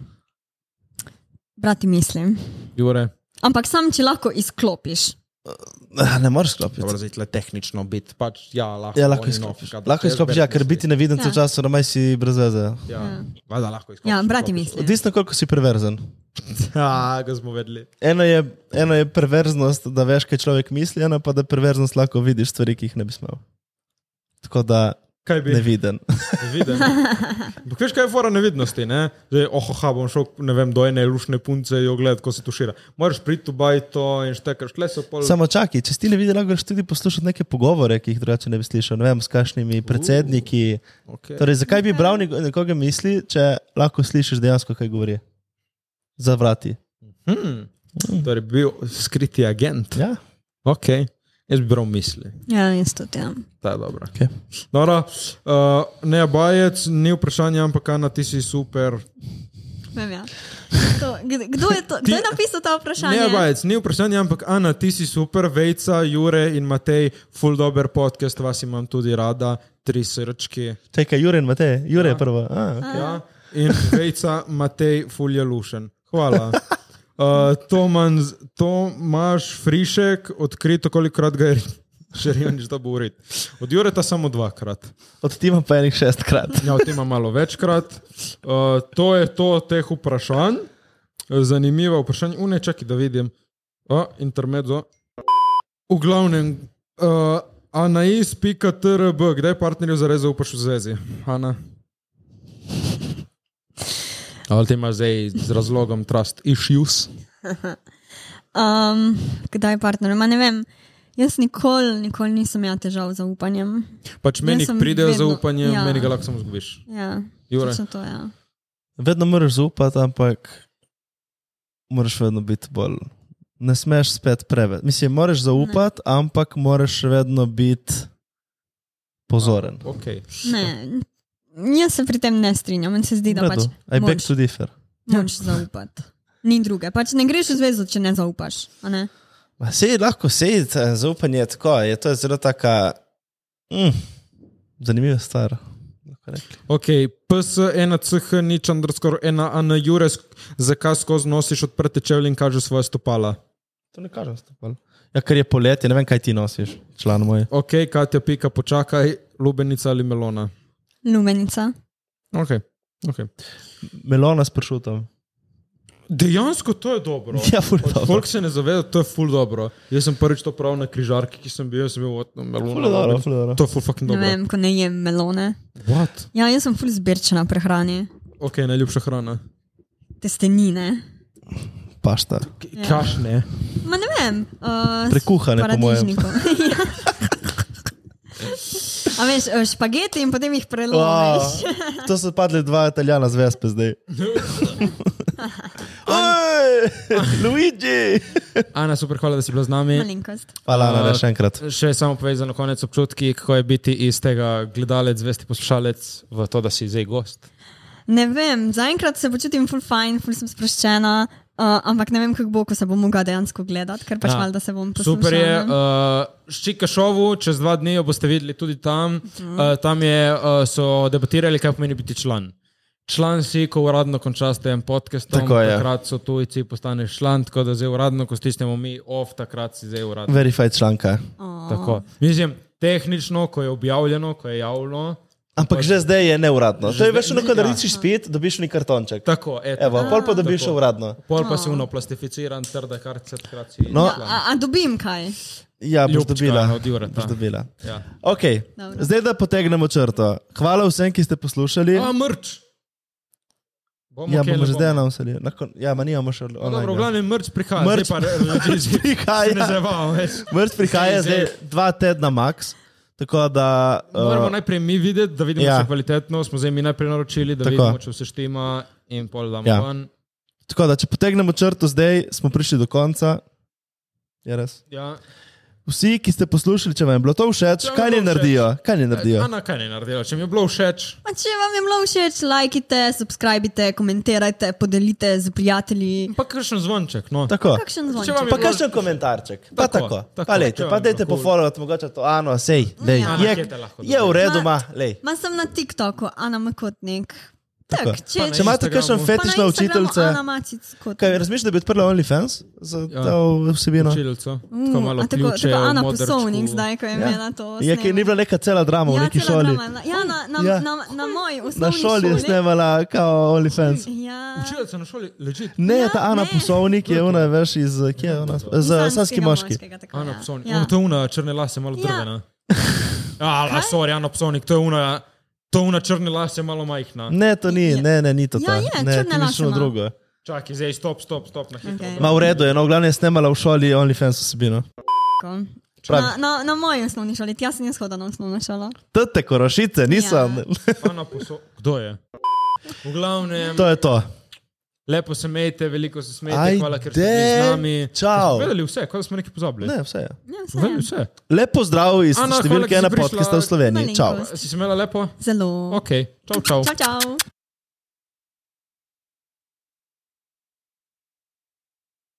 Speaker 1: brati mislim.
Speaker 4: Jure,
Speaker 1: Ampak sam, če lahko izklopiš.
Speaker 3: Ah, Ne moreš sklopiti.
Speaker 4: dobro, zdaj tule tehnično biti, pač ja, lahko.
Speaker 3: Ja, lahko
Speaker 4: on in
Speaker 3: izklopiš.
Speaker 4: off,
Speaker 3: Lahko izklopiš, ja, ker biti neviden
Speaker 1: Ja.
Speaker 3: ja. čas, na maj si brez veze.
Speaker 4: Ja, vada lahko izklopiš.
Speaker 1: Ja, brati
Speaker 4: izklopiš.
Speaker 1: mislim.
Speaker 3: Odvisno, koliko si perverzen.
Speaker 4: Ja, ga smo vedeli.
Speaker 3: Eno je, eno je perverznost, da veš, kaj človek misli, eno pa da perverznost lahko vidiš stvari, ki jih ne bi smel. Tako da
Speaker 4: Kaj bi?
Speaker 3: neviden.
Speaker 4: Neviden. Ampak veš, kaj je fora nevidnosti, ne? Zdaj, oh, oh, bom šel, ne vem, do ene lušne punce in jo gledati, ko se tušira. Moraš priti v bajto in štekaš, tle so pol...
Speaker 3: Samo čakaj, če si ti neviden, lahko greš tudi poslušati neke pogovore, ki jih drugače ne bi slišal. Ne vem, s kakšnimi
Speaker 4: Uh.
Speaker 3: predsedniki.
Speaker 4: Okay.
Speaker 3: Torej, zakaj bi bral neko- nekoga misli, če lahko slišiš dejansko, kaj govori? Zavrati.
Speaker 4: Hmm. Torej, bil skriti agent.
Speaker 3: Ja.
Speaker 4: Ok, jaz bi bral misli.
Speaker 1: Ja, jaz tudi. Ja.
Speaker 4: Ta je dobra.
Speaker 3: Okay.
Speaker 4: Nora, uh, ne abajec, ni vprašanje, ampak Ana, ti si super.
Speaker 1: Vem, ja. to, kd- kdo, je to, kdo je napisal ta vprašanje?
Speaker 4: Ne abajec, ni vprašanje, ampak Ana, ti si super, Vejca, Jure in Matej, full dober podcast, vas imam tudi rada, tri srčki.
Speaker 3: Čakaj, Jure in Matej, Jure
Speaker 1: No.
Speaker 3: je prvo. A, okay.
Speaker 4: Ja. In Vejca, Matej, full je lušen. Hvala. Uh, Toman, Tomaš Frišek, odkrito, kolikrat ga je (laughs) želel nič da bo ured. Od Jureta samo dvakrat.
Speaker 3: Od tima pa enih šestkrat.
Speaker 4: Ja, o tem ima malo večkrat. Uh, to je to teh vprašanj. Zanimivo vprašanje. Une, čakaj, da vidim. O, intermezzo. V glavnem, uh, anais.trb, kdaj partnerju za rezo upaš v zvezi? Ana. Ali ti imaš zdaj z razlogom trust issues?
Speaker 1: Um, kdaj partner? Ma ne vem. Jaz nikoli, nikoli nisem imel težav z zaupanjem.
Speaker 4: Pač meni
Speaker 1: Jaz sem
Speaker 4: pridejo
Speaker 1: vedno-
Speaker 4: zaupanje, ja.
Speaker 1: ja.
Speaker 4: meni ga lahko samo zgubiš.
Speaker 1: Ja,
Speaker 4: Jure.
Speaker 1: točno to, ja.
Speaker 3: Vedno moraš zaupati, ampak moraš vedno biti bolj. Ne smeš spet preveč. Mislim, moraš zaupati, ne. ampak moraš še vedno biti pozoren.
Speaker 4: Okay.
Speaker 1: Ne, jaz se pri tem ne strinjam. Meni se zdi, da pač
Speaker 3: I beg
Speaker 1: moraš,
Speaker 3: to differ.
Speaker 1: moraš zaupati. Ni druge. Pač ne greš v zvezo, če ne zaupaš. a Ne?
Speaker 3: Ma Sej lahko sej, ta zaupanje je tako, je to zelo taka mm, zanimiva stvar. lahko rekli.
Speaker 4: Ok, PS1CH nič underscore 1AN Jures, zakaj skozi nosiš odprte čevlje in kažeš svoje stopala?
Speaker 3: To ne kažem stopal. Ja, ker je poletje, ne vem, kaj ti nosiš, član moj.
Speaker 4: Ok, Katja, pika, počakaj, lubenica ali melona.
Speaker 1: Lumenica.
Speaker 4: Ok, ok.
Speaker 3: Melona s pršutom.
Speaker 4: Dejansko to je dobro.
Speaker 3: (laughs) Ja, ful
Speaker 4: Pač
Speaker 3: dobro.
Speaker 4: Folk se ne zaveda, to je ful dobro. Jaz sem prvič to pravil na križarki, ki sem bil, jaz sem bil odno
Speaker 3: Ful
Speaker 4: melona.
Speaker 3: je dobro,
Speaker 4: lubenica.
Speaker 3: ful je dobro.
Speaker 4: To je ful fucking
Speaker 1: Ne
Speaker 4: dobro.
Speaker 1: vem, ko ne jem melone.
Speaker 4: What?
Speaker 1: Ja, jaz sem ful zbirčena prehrani.
Speaker 4: Ok, najljubša hrana.
Speaker 1: Testenine.
Speaker 3: Pašta.
Speaker 4: Ja. Kašne.
Speaker 1: Ma ne vem. Uh,
Speaker 3: Prekuhane, po mojem. (laughs)
Speaker 1: Ja. A veš, eh, špageti in potem jih prelomiš.
Speaker 3: To so padli dva italijana z vespe zdaj. Oj, Luigi!
Speaker 4: Ana, super, hvala, da si bila z nami.
Speaker 1: (laughs) Malenkost.
Speaker 3: Hvala, Ana, le še enkrat.
Speaker 4: Še samo povej za na konec občutki, kako je biti iz tega gledalec, zvesti poslušalec v to, da si zdaj gost.
Speaker 1: Ne vem, zaenkrat se počutim ful fajn, ful sem sproščena, uh, ampak ne vem, kako bo, ko se bom mogla dejansko gledati, ker pač
Speaker 4: Ja.
Speaker 1: ja. valjda se bom poslušala.
Speaker 4: Super je,
Speaker 1: ne?
Speaker 4: uh, ščika šovu, čez dva dni jo boste videli tudi tam.
Speaker 1: Mhm.
Speaker 4: Uh, tam je, uh, so debatirali, kaj pomeni biti član. Član si, ko uradno končaš en podcast,
Speaker 3: Tako je.
Speaker 4: takrat so tujci, postaneš član, tako da zdaj uradno, ko stisnemo mi off, takrat si zdaj uradno.
Speaker 3: Verified članka.
Speaker 4: Tako. Mislim, tehnično, ko je objavljeno, ko je javno,
Speaker 3: Ampak že zdaj je neuradno.
Speaker 4: Že
Speaker 3: To je
Speaker 4: zdaj-
Speaker 3: veš, ono, ko
Speaker 4: ja.
Speaker 3: narediš izpit, dobiš neki kartonček.
Speaker 4: Tako, eto,
Speaker 3: Evo, pol pa dobiš
Speaker 4: Tako.
Speaker 3: uradno.
Speaker 4: Pol pa si uno plastificiran, trda kartica, takrat si.
Speaker 3: No.
Speaker 4: plan.
Speaker 1: Ah. Oh. Ja, A, a dobim kaj?
Speaker 3: Ja, boš
Speaker 4: Ljubčka,
Speaker 3: dobila.
Speaker 4: no, od Jureta.
Speaker 3: Boš dobila.
Speaker 4: Ja.
Speaker 3: Okay.
Speaker 1: Dobro.
Speaker 3: Zdaj, da potegnemo črto. Hvala vsem, ki ste poslušali.
Speaker 4: A, mrč! Bomo
Speaker 3: Ja,
Speaker 4: kaj, ne
Speaker 3: bomo že zdaj announcali. Lahko- Ja, ma nimamo še
Speaker 4: No, dobro, v
Speaker 3: (laughs) online.
Speaker 4: glavnem mrč prihaja. Mrč
Speaker 3: Mrč. Ja,
Speaker 4: pa ljudi
Speaker 3: (laughs)
Speaker 4: že ne
Speaker 3: Prihaja,
Speaker 4: zabavam več.
Speaker 3: mrz prihaja
Speaker 4: Zdaj,
Speaker 3: zdaj dva tedna max. Tako da...
Speaker 4: Moramo
Speaker 3: Uh,
Speaker 4: najprej mi videti, da vidimo, ja.
Speaker 3: ja.
Speaker 4: če je kvalitetno. Smo zdaj mi najprej naročili, da
Speaker 3: Tako.
Speaker 4: Tako. vidimo, če vse štima in pol damo
Speaker 3: Ja.
Speaker 4: ja. ven.
Speaker 3: tako da, če potegnemo črto zdaj, smo prišli do konca. Je res?
Speaker 4: Ja.
Speaker 3: Vsi, ki ste poslušali, če vam je bilo to všeč,
Speaker 4: Če vam je
Speaker 3: kaj ne
Speaker 4: bilo všeč.
Speaker 3: naredijo? Kaj ne naredijo?
Speaker 4: Ana, kaj ne naredila? Če mi je bilo všeč,
Speaker 1: A če vam je bilo všeč, lajkite, subskrbite, komentirajte, podelite z prijatelji.
Speaker 4: pa kakšen zvonček. No.
Speaker 3: Tako.
Speaker 1: Kakšen
Speaker 4: vam je
Speaker 1: zvonček?
Speaker 3: Pa kakšen komentarček, pa
Speaker 4: Tako,
Speaker 3: tako.
Speaker 4: tako,
Speaker 3: Pa lejte,
Speaker 4: če
Speaker 3: pa
Speaker 4: vam je
Speaker 3: dajte
Speaker 4: bilo
Speaker 3: po
Speaker 4: kul.
Speaker 3: followat, mogoče to ano, sej, lej,
Speaker 1: Ja.
Speaker 3: je,
Speaker 4: Rakete lahko
Speaker 3: je v
Speaker 4: dobite.
Speaker 3: redu,
Speaker 1: Ma-
Speaker 3: ma, lej.
Speaker 1: Ma sem na TikToku, Ana Makotnik.
Speaker 3: Tako.
Speaker 1: Tak, če,
Speaker 4: na
Speaker 3: Če imate kakšen
Speaker 4: Instagramu.
Speaker 3: fetišna učiteljca,
Speaker 1: Ana Macic kot.
Speaker 3: kaj razmišljate, da bi odprla OnlyFans za
Speaker 4: Ja.
Speaker 3: to vsebino?
Speaker 4: Učiljico.
Speaker 1: Mm,
Speaker 4: Tako malo
Speaker 1: a tako,
Speaker 4: ključe,
Speaker 1: tako
Speaker 4: v
Speaker 1: Ana
Speaker 4: modrčku.
Speaker 1: Posovnik zdaj, ko je
Speaker 3: Ja.
Speaker 1: imela to.
Speaker 3: Je, ki ni bila neka cela drama v
Speaker 1: ja,
Speaker 3: neki
Speaker 1: cela
Speaker 3: šoli.
Speaker 1: drama. Na- Ja, na, na,
Speaker 3: Ja.
Speaker 1: ja. na, na moji osnovni
Speaker 3: Na šoli je snemala kao OnlyFans.
Speaker 1: Ja.
Speaker 4: Učiljica na šoli leži.
Speaker 3: Ne,
Speaker 1: Ja,
Speaker 3: ta Ana
Speaker 1: ne.
Speaker 3: Posovnik je ona, veš, iz, kje je ona? Z Sanski moški.
Speaker 4: Ana Psovnik. Ja.
Speaker 1: Ja.
Speaker 4: Ono to je una črne lase, malo
Speaker 1: Ja.
Speaker 4: drvena. Ja. A, sorry, Ana Psovnik, to je una, to je una črne lase, malo majhna.
Speaker 3: Ne, to ni,
Speaker 1: Je.
Speaker 3: ne, ne, ni to.
Speaker 1: Ja, no.
Speaker 3: ta.
Speaker 1: je,
Speaker 3: ne,
Speaker 1: črne
Speaker 3: ti misliš
Speaker 1: lase
Speaker 3: ono
Speaker 1: ima.
Speaker 3: drugo.
Speaker 4: Čakaj, zdaj stop, stop, stop na hitro.
Speaker 1: Okej.
Speaker 4: Okay.
Speaker 3: Ma v redu je, no, v glavnem je snemala v šoli OnlyFans vsebino. Pravi.
Speaker 1: Na, na, na moji osnovni šoli, jaz sem jaz hodila na osnovno šolo.
Speaker 3: Tete, korošice, nisem.
Speaker 1: Ja.
Speaker 4: (laughs) Ana Poso... Kdo je? V glavnem,
Speaker 3: To je to.
Speaker 4: lepo se mejte, veliko se smejte,
Speaker 3: Ajde,
Speaker 4: Ajde. hvala, ker ste bili z nami.
Speaker 3: čao.
Speaker 4: Vedeli vse, kot da smo nekaj pozabili.
Speaker 3: Ne, vse je.
Speaker 1: Ne, vse
Speaker 4: Vedeli
Speaker 1: je.
Speaker 4: vse.
Speaker 3: Lepo zdrav iz
Speaker 4: Ana, hvala,
Speaker 3: številke
Speaker 4: ki si
Speaker 3: ena
Speaker 4: prišla.
Speaker 3: podcasta v Sloveniji. Čau.
Speaker 1: Malenkost.
Speaker 4: Si se imela lepo?
Speaker 1: Zelo.
Speaker 4: Ok, čau, čau.
Speaker 1: Čau, čau.